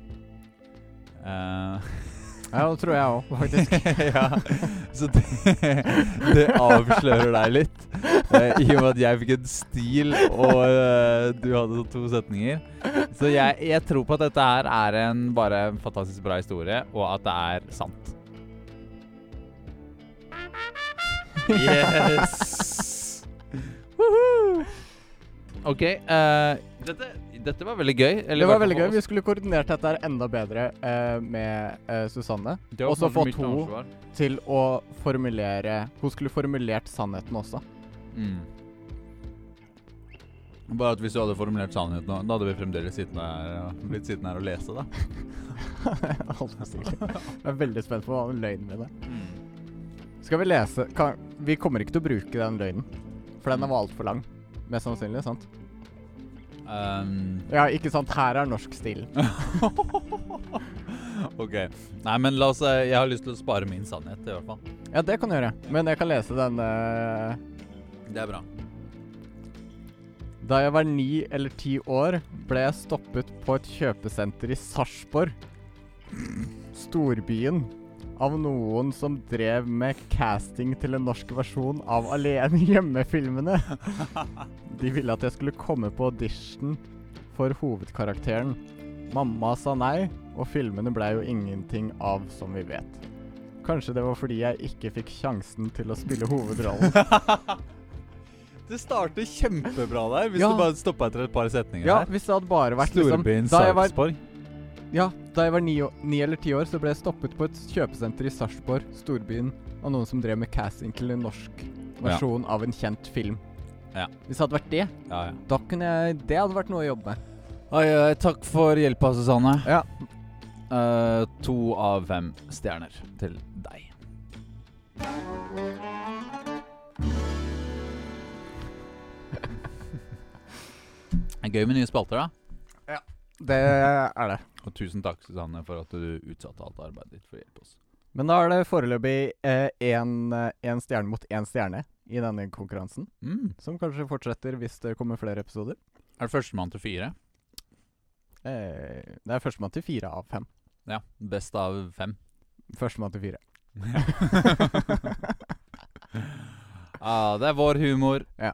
[SPEAKER 2] Eh, [LAUGHS]
[SPEAKER 1] Ja, det tror jeg òg, faktisk.
[SPEAKER 2] ja, så det, [LAUGHS] det avslører deg litt.
[SPEAKER 1] [LAUGHS]
[SPEAKER 2] Eh, I og med at jeg fikk en stil, og eh, du hadde sånn to setninger. Så jeg, jeg tror på at dette her er en bare en fantastisk bra historie, og at det er sant. Yes! [LAUGHS] Woohoo! OK. eh, dette, dette var veldig gøy. eller
[SPEAKER 1] Det
[SPEAKER 2] i
[SPEAKER 1] var
[SPEAKER 2] hvert
[SPEAKER 1] veldig
[SPEAKER 2] fall
[SPEAKER 1] gøy.
[SPEAKER 2] for
[SPEAKER 1] Vi skulle koordinert dette her enda bedre eh, med eh, Susanne
[SPEAKER 2] oss. Det var
[SPEAKER 1] og så
[SPEAKER 2] kanskje
[SPEAKER 1] få
[SPEAKER 2] mitt
[SPEAKER 1] to.
[SPEAKER 2] ansvar.
[SPEAKER 1] til å formulere Hun skulle formulert sannheten også. [LAUGHS]
[SPEAKER 2] Mm. Bare at hvis du hadde formulert sannheten, nå, da hadde vi fremdeles sittende her, og- blitt sittende her og lese, da.
[SPEAKER 1] Alt for sikkert. Jeg er veldig spent på hva den løgnen min er.
[SPEAKER 2] Mm.
[SPEAKER 1] Skal vi lese kan, Vi kommer ikke til å bruke den løgnen, for den var altfor lang. Mest sannsynlig, sant?
[SPEAKER 2] Um,
[SPEAKER 1] Ja, ikke sant. Her er norsk stil.
[SPEAKER 2] ok. Nei, men la oss eh, Jeg har lyst til å spare min sannhet, i hvert fall.
[SPEAKER 1] Ja, det kan du gjøre. Men jeg kan lese den eh,
[SPEAKER 2] Det er bra.
[SPEAKER 1] Da jeg var ni eller ti år, ble jeg stoppet på et kjøpesenter i Sarpsborg, storbyen, av noen som drev med casting til en norsk versjon av Alene hjemme-filmene. De ville at jeg skulle komme på audition for hovedkarakteren. Mamma sa nei, og filmene blei jo ingenting av, som vi vet. Kanskje det var fordi jeg ikke fikk sjansen til å spille hovedrollen.
[SPEAKER 2] Det starter kjempebra der, hvis
[SPEAKER 1] Ja.
[SPEAKER 2] du bare stoppa etter et par setninger
[SPEAKER 1] Ja,
[SPEAKER 2] her.
[SPEAKER 1] hvis det hadde bare vært liksom
[SPEAKER 2] Storbyen
[SPEAKER 1] Da jeg var
[SPEAKER 2] Sarpsborg.
[SPEAKER 1] Ja, da jeg var ni, å- ni eller ti år, så ble jeg stoppet på et kjøpesenter i Sarpsborg, storbyen, av noen som drev med casting til en norsk versjon av en kjent film.
[SPEAKER 2] Ja.
[SPEAKER 1] Hvis det hadde vært det,
[SPEAKER 2] Ja, ja.
[SPEAKER 1] da kunne jeg Det hadde vært noe å jobbe med.
[SPEAKER 2] Oi, oi, takk for hjelpa, Susanne.
[SPEAKER 1] Ja.
[SPEAKER 2] Eh, to av fem stjerner til deg. Det er gøy med nye spalter, da.
[SPEAKER 1] Det er det.
[SPEAKER 2] Og tusen takk, Susanne, for at du utsatte alt arbeidet ditt for å hjelpe oss.
[SPEAKER 1] Men da er det foreløpig eh, én stjerne mot én stjerne i denne konkurransen.
[SPEAKER 2] Mm.
[SPEAKER 1] Som kanskje fortsetter hvis det kommer flere episoder.
[SPEAKER 2] Er det førstemann til fire?
[SPEAKER 1] Eh, det er førstemann til fire av fem.
[SPEAKER 2] Ja. Best av fem.
[SPEAKER 1] Førstemann til fire.
[SPEAKER 2] ah, det er vår humor.
[SPEAKER 1] Ja.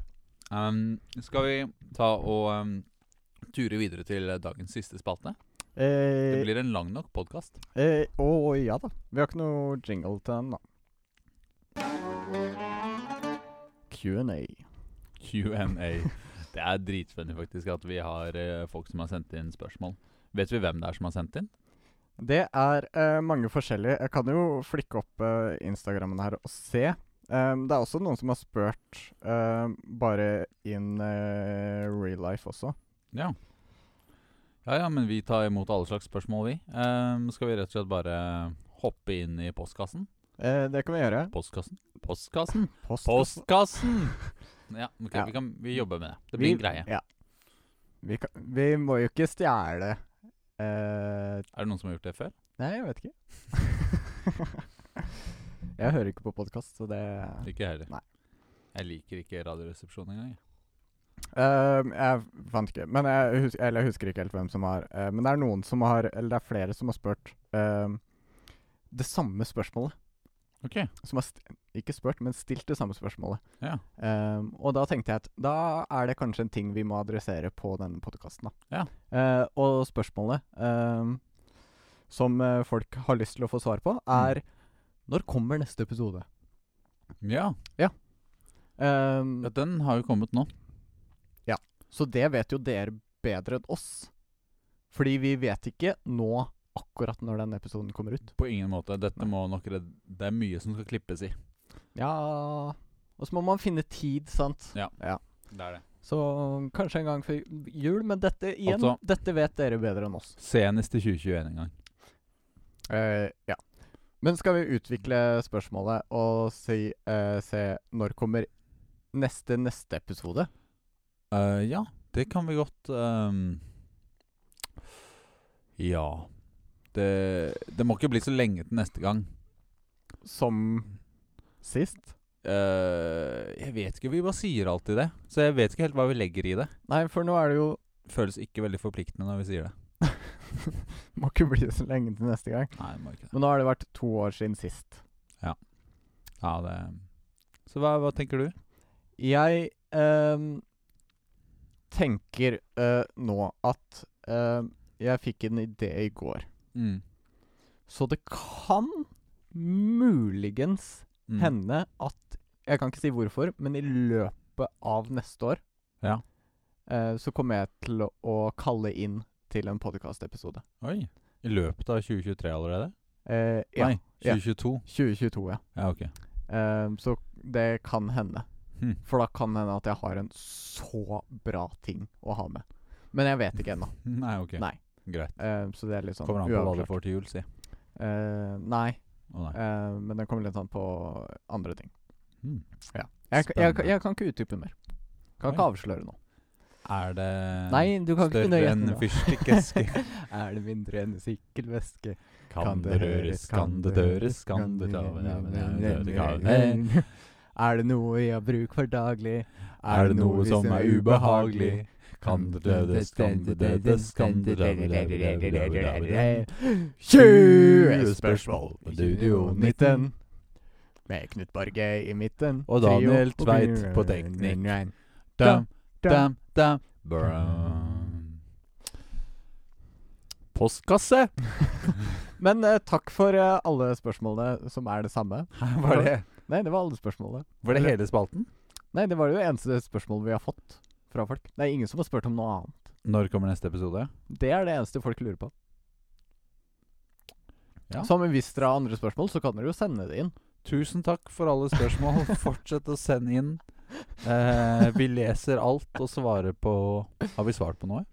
[SPEAKER 2] Um, skal vi ta og um, ture videre til dagens siste spalte? Det
[SPEAKER 1] Eh,
[SPEAKER 2] blir en lang nok podkast.
[SPEAKER 1] eh, å ja da. Vi har ikke noe jingle til den, da. Q&A.
[SPEAKER 2] Q&A. Det er dritspennende faktisk at vi har eh, folk som har sendt inn spørsmål. Vet vi hvem det er som har sendt inn?
[SPEAKER 1] Det er eh, mange forskjellige. Jeg kan jo flikke opp eh, Instagrammen her og se. Ehm, det er også noen som har spurt eh, bare in eh, real life også.
[SPEAKER 2] Ja. Ja, ja, men vi tar imot alle slags spørsmål, vi. Ehm, skal vi rett og slett bare hoppe inn i postkassen?
[SPEAKER 1] Eh, det kan vi gjøre.
[SPEAKER 2] Postkassen? Postkassen?
[SPEAKER 1] Post.
[SPEAKER 2] Postkassen! Ja, ok,
[SPEAKER 1] Ja.
[SPEAKER 2] Vi, kan, vi jobber med det. Det blir en greie.
[SPEAKER 1] Ja. Vi, kan, vi må jo ikke stjele eh,
[SPEAKER 2] Er det noen som har gjort det før?
[SPEAKER 1] Nei, jeg vet
[SPEAKER 2] [LAUGHS]
[SPEAKER 1] ikke. jeg hører ikke på podkast, så det
[SPEAKER 2] Ikke jeg heller.
[SPEAKER 1] Nei.
[SPEAKER 2] Jeg liker ikke Radioresepsjonen engang. jeg.
[SPEAKER 1] Ehm, Jeg fant ikke Men jeg, hus eller jeg husker ikke helt hvem som har eh, Men det er noen som har Eller det er flere som har spurt ehm, det samme spørsmålet.
[SPEAKER 2] Ok,
[SPEAKER 1] Som har st ikke spurt, men stilt det samme spørsmålet.
[SPEAKER 2] ja.
[SPEAKER 1] Ehm, og da tenkte jeg at da er det kanskje en ting vi må adressere på denne podkasten.
[SPEAKER 2] Ja.
[SPEAKER 1] og spørsmålet ehm, som eh, folk har lyst til å få svar på,
[SPEAKER 2] Mm.
[SPEAKER 1] er Når kommer neste episode?
[SPEAKER 2] Ja,
[SPEAKER 1] Ehm,
[SPEAKER 2] ja, den har jo kommet nå.
[SPEAKER 1] Så det vet jo dere bedre enn oss. Fordi vi vet ikke nå akkurat når den episoden kommer ut.
[SPEAKER 2] På ingen måte. Dette må nok red- Det er mye som skal klippes i.
[SPEAKER 1] Ja Og så må man finne tid, sant.
[SPEAKER 2] Ja.
[SPEAKER 1] ja.
[SPEAKER 2] Det er det.
[SPEAKER 1] Så kanskje en gang før jul, men dette igjen
[SPEAKER 2] Altså-
[SPEAKER 1] Dette vet dere bedre enn oss.
[SPEAKER 2] Senest i 2021 en gang.
[SPEAKER 1] Eh, ja. Men skal vi utvikle spørsmålet og si, eh, se når kommer neste neste episode?
[SPEAKER 2] Eh, ja, det kan vi godt ehm, Ja det, det må ikke bli så lenge til neste gang.
[SPEAKER 1] Som sist?
[SPEAKER 2] Eh, jeg vet ikke, vi bare sier alltid det. Så jeg vet ikke helt hva vi legger i det.
[SPEAKER 1] Nei, for nå er det jo
[SPEAKER 2] Føles ikke veldig forpliktende når vi sier det.
[SPEAKER 1] Må ikke bli så lenge til neste gang.
[SPEAKER 2] Nei, det må ikke det.
[SPEAKER 1] Men nå har det vært to år siden sist.
[SPEAKER 2] Ja, det så hva, hva tenker du?
[SPEAKER 1] Jeg ehm, tenker eh, nå at ehm, jeg fikk en idé i går.
[SPEAKER 2] Mm.
[SPEAKER 1] Så det kan muligens
[SPEAKER 2] Mm.
[SPEAKER 1] hende at Jeg kan ikke si hvorfor, men i løpet av neste år
[SPEAKER 2] Ja.
[SPEAKER 1] eh, så kommer jeg til å, å kalle inn til en podkastepisode.
[SPEAKER 2] Oi. I løpet av 2023 allerede?
[SPEAKER 1] Uh, ja.
[SPEAKER 2] Nei, 2022.
[SPEAKER 1] 2022, ja.
[SPEAKER 2] Ja, ok.
[SPEAKER 1] Eh, så det kan hende.
[SPEAKER 2] Hm.
[SPEAKER 1] For da kan det hende at jeg har en så bra ting å ha med. Men jeg vet ikke ennå,
[SPEAKER 2] [LAUGHS] Nei, ok.
[SPEAKER 1] Nei.
[SPEAKER 2] Greit.
[SPEAKER 1] eh, så det er litt sånn
[SPEAKER 2] Kommer an på hva du
[SPEAKER 1] uavklart.
[SPEAKER 2] får til jul, si.
[SPEAKER 1] Eh, nei,
[SPEAKER 2] Å, nei.
[SPEAKER 1] eh, men det kommer litt an på andre ting.
[SPEAKER 2] Mm.
[SPEAKER 1] Jeg, kan- jeg, kan-
[SPEAKER 2] Spennende.
[SPEAKER 1] jeg kan ikke utdype mer. Kan ikke
[SPEAKER 2] Oi.
[SPEAKER 1] avsløre noe.
[SPEAKER 2] Er det
[SPEAKER 1] Nei, du kan ikke
[SPEAKER 2] større
[SPEAKER 1] nøye
[SPEAKER 2] enn
[SPEAKER 1] etter nå.
[SPEAKER 2] fyrstikkeske?
[SPEAKER 1] Er det mindre enn sykkelveske?
[SPEAKER 2] Kan det røres, kan det døres, kan det ta Er
[SPEAKER 1] Er det noe vi har bruk for daglig?
[SPEAKER 2] det noe som er ubehagelig? Kan det dødes, kan det dødes, kan det dødes
[SPEAKER 1] 20
[SPEAKER 2] spørsmål på Studio
[SPEAKER 1] 19 Med Knut Borge i midten
[SPEAKER 2] Og Daniel
[SPEAKER 1] Trio.
[SPEAKER 2] Tveit på teknikk. Dam, dam, dam Brum. Postkasse! [LAUGHS]
[SPEAKER 1] Men eh, takk for eh, alle spørsmålene som er det samme
[SPEAKER 2] Var det,
[SPEAKER 1] Nei, det var alle spørsmålene
[SPEAKER 2] var det hele spalten?
[SPEAKER 1] Nei, det var jo eneste spørsmål vi har fått fra folk Det er ingen som har spurt om noe annet
[SPEAKER 2] Når kommer neste episode?
[SPEAKER 1] Det er det eneste folk lurer på
[SPEAKER 2] Ja.
[SPEAKER 1] Så men hvis dere har andre spørsmål så kan dere jo sende det inn
[SPEAKER 2] Tusen takk for alle [LAUGHS] spørsmål. Fortsett å sende inn. Eh, vi leser alt og svarer på Har vi svart på noe?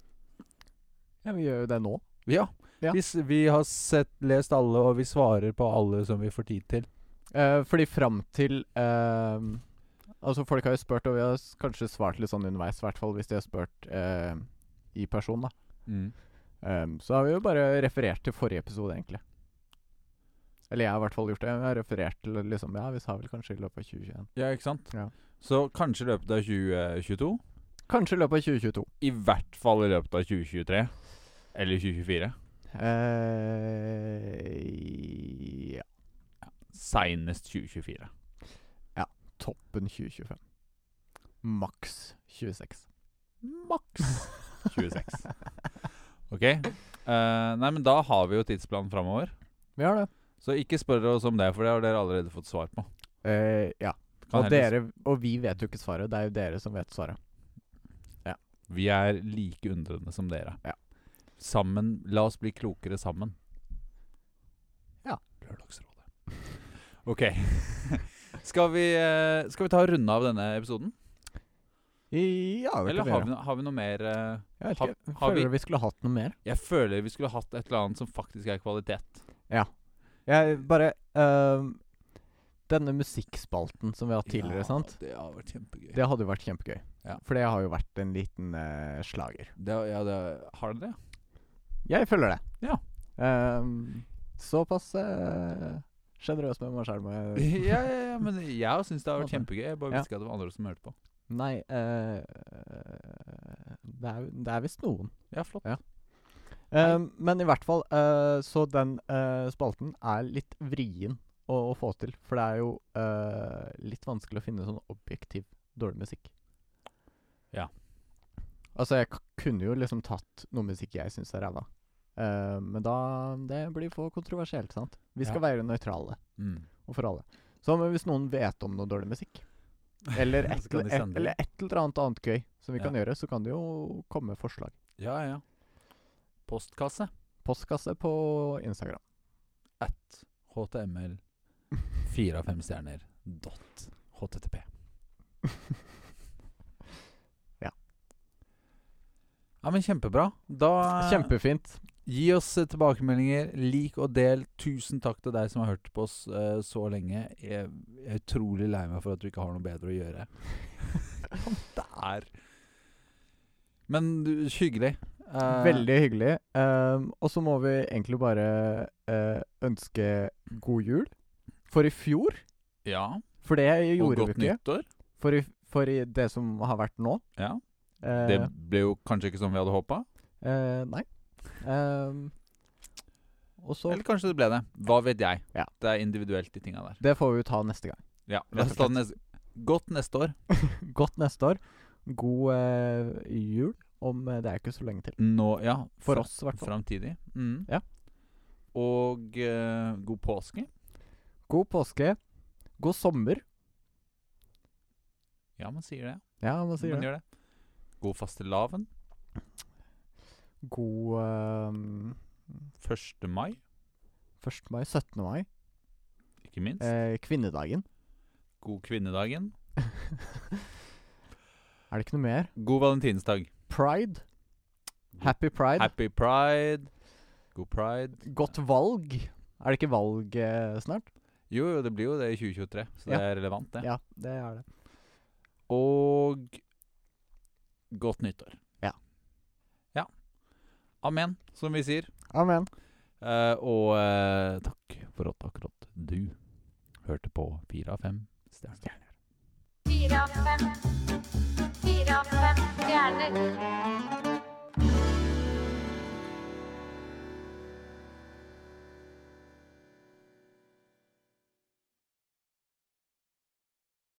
[SPEAKER 1] Ja, vi gjør jo det nå
[SPEAKER 2] Ja.
[SPEAKER 1] Ja.
[SPEAKER 2] Vi, s- vi har sett, lest alle, og vi svarer på alle som vi får tid til.
[SPEAKER 1] Eh, fordi fram til eh, Altså, folk har jo spurt, og vi har s- kanskje svart litt sånn underveis, i hvert fall hvis de har spurt eh, i person, da.
[SPEAKER 2] Mm.
[SPEAKER 1] Ehm, så har vi jo bare referert til forrige episode, egentlig. Eller jeg har i hvert fall gjort det. Jeg har referert til liksom Ja, vi sa vel kanskje i løpet av 2021.
[SPEAKER 2] Ja, ikke sant?
[SPEAKER 1] Ja.
[SPEAKER 2] Så kanskje i løpet av 2022.
[SPEAKER 1] Kanskje i løpet av 2022.
[SPEAKER 2] I hvert fall i løpet av 2023. Eller 2024.
[SPEAKER 1] Eh, ja.
[SPEAKER 2] Seinest [LAUGHS] 2024.
[SPEAKER 1] Toppen 2025. Maks
[SPEAKER 2] [LAUGHS]
[SPEAKER 1] 26.
[SPEAKER 2] Maks 26. OK? Eh, nei, men da har vi jo tidsplanen framover.
[SPEAKER 1] Vi har det.
[SPEAKER 2] Så ikke spør oss om det, for det har dere allerede fått svar på.
[SPEAKER 1] Eh, ja.
[SPEAKER 2] Kan
[SPEAKER 1] Og,
[SPEAKER 2] heller-
[SPEAKER 1] dere, og vi vet jo ikke svaret. Det er jo dere som vet svaret.
[SPEAKER 2] Vi er like undrende som dere.
[SPEAKER 1] Ja.
[SPEAKER 2] Sammen, La oss bli klokere sammen.
[SPEAKER 1] Ja.
[SPEAKER 2] Lørdagsrådet. Ok. [LAUGHS] skal, vi, eh, skal vi ta og runde av denne episoden?
[SPEAKER 1] Ja, det
[SPEAKER 2] Eller
[SPEAKER 1] kan vi gjøre.
[SPEAKER 2] har vi, no- har vi noe mer eh,
[SPEAKER 1] Jeg vet
[SPEAKER 2] Har-
[SPEAKER 1] ikke.
[SPEAKER 2] har vi-
[SPEAKER 1] Føler vi skulle hatt noe mer.
[SPEAKER 2] Jeg føler vi skulle hatt et eller annet som faktisk er kvalitet.
[SPEAKER 1] Jeg bare øhm, Denne musikkspalten som vi har hatt tidligere, sant?
[SPEAKER 2] Det har vært kjempegøy.
[SPEAKER 1] Det hadde jo vært kjempegøy.
[SPEAKER 2] Ja.
[SPEAKER 1] For det har jo vært en liten eh, slager.
[SPEAKER 2] Det har- ja, det, har dere det?
[SPEAKER 1] Jeg føler det.
[SPEAKER 2] Ja.
[SPEAKER 1] Øhm, såpass uh, sjenerøs med meg sjøl må [LAUGHS] jeg
[SPEAKER 2] [LAUGHS] ja, ja, ja, men jeg syns det har vært kjempegøy. Jeg bare
[SPEAKER 1] Ja.
[SPEAKER 2] visste ikke at det var andre som hørte på.
[SPEAKER 1] Nei eh, Det er, det er visst noen.
[SPEAKER 2] Ja, flott.
[SPEAKER 1] Ja. Øhm, Ehm, men i hvert fall, eh, så den eh, spalten er litt vrien å, å få til. For det er jo eh, litt vanskelig å finne sånn objektiv dårlig musikk.
[SPEAKER 2] Ja.
[SPEAKER 1] Altså, jeg k kunne jo liksom tatt noe musikk jeg syns er ræva. Eh, men da Det blir for kontroversielt, sant? Vi skal være nøytrale
[SPEAKER 2] Mm.
[SPEAKER 1] og for alle. Så men hvis noen vet om noe dårlig
[SPEAKER 2] [LAUGHS]
[SPEAKER 1] musikk, eller et,
[SPEAKER 2] Så kan de
[SPEAKER 1] et,
[SPEAKER 2] sende det.
[SPEAKER 1] eller et eller annet annet gøy som vi
[SPEAKER 2] Ja.
[SPEAKER 1] kan gjøre, så kan det jo komme forslag.
[SPEAKER 2] Ja, ja. Postkasse.
[SPEAKER 1] Postkasse på Instagram. [LAUGHS]
[SPEAKER 2] HTML. Fire av fem stjerner. dot http.
[SPEAKER 1] Ja.
[SPEAKER 2] Ja, men kjempebra.
[SPEAKER 1] Ah.
[SPEAKER 2] Da eh,
[SPEAKER 1] Kjempefint.
[SPEAKER 2] Gi oss eh, tilbakemeldinger, lik og del. Tusen takk til deg som har hørt på oss eh, så lenge. Jeg jeg er utrolig lei meg for at du ikke har noe bedre å gjøre. det er Men du, hyggelig. Eh,
[SPEAKER 1] [LAUGHS] Veldig hyggelig. Ehm, og så må vi egentlig bare eh, ønske god jul. For i fjor
[SPEAKER 2] Ja.
[SPEAKER 1] For det
[SPEAKER 2] Og
[SPEAKER 1] gjorde vi
[SPEAKER 2] godt
[SPEAKER 1] ikke.
[SPEAKER 2] nyttår.
[SPEAKER 1] For i, for i det som har vært nå.
[SPEAKER 2] Ja.
[SPEAKER 1] Eh,
[SPEAKER 2] Det ble jo kanskje ikke som vi hadde håpa.
[SPEAKER 1] eh, nei. Ehm, og så
[SPEAKER 2] Eller kanskje det ble det. Hva vet jeg.
[SPEAKER 1] Ja.
[SPEAKER 2] Det er individuelt, de tinga der.
[SPEAKER 1] Det får vi jo ta neste gang. [LAUGHS]
[SPEAKER 2] Ja,
[SPEAKER 1] Rett og
[SPEAKER 2] vi får ta det neste- Godt neste år.
[SPEAKER 1] Godt neste år. God eh, jul, om eh, det er ikke så lenge til.
[SPEAKER 2] Nå, ja.
[SPEAKER 1] For
[SPEAKER 2] fra-
[SPEAKER 1] oss, i hvert fall.
[SPEAKER 2] Framtidig. Mm.
[SPEAKER 1] Ja.
[SPEAKER 2] Og eh, god påske.
[SPEAKER 1] God påske. God sommer.
[SPEAKER 2] Ja, man sier det.
[SPEAKER 1] Ja, man sier
[SPEAKER 2] man
[SPEAKER 1] det.
[SPEAKER 2] gjør det. God fastelavn.
[SPEAKER 1] God ehm,
[SPEAKER 2] 1. mai,
[SPEAKER 1] 1. mai, 17. mai.
[SPEAKER 2] ikke minst.
[SPEAKER 1] Eh, kvinnedagen.
[SPEAKER 2] God kvinnedagen.
[SPEAKER 1] Er det ikke noe mer?
[SPEAKER 2] God valentinsdag.
[SPEAKER 1] Pride. Happy pride.
[SPEAKER 2] Happy pride. God pride.
[SPEAKER 1] Godt valg. Er det ikke valg eh, snart?
[SPEAKER 2] Jo, jo, det blir jo det i 2023, så det
[SPEAKER 1] Ja.
[SPEAKER 2] er relevant, det.
[SPEAKER 1] Ja, det er det.
[SPEAKER 2] Og godt nyttår.
[SPEAKER 1] Ja.
[SPEAKER 2] Ja. Amen, som vi sier.
[SPEAKER 1] Amen.
[SPEAKER 2] Eh, og eh, takk for at akkurat du hørte på fire av fem stjerner.
[SPEAKER 3] Fire av fem. Fire av fem stjerner.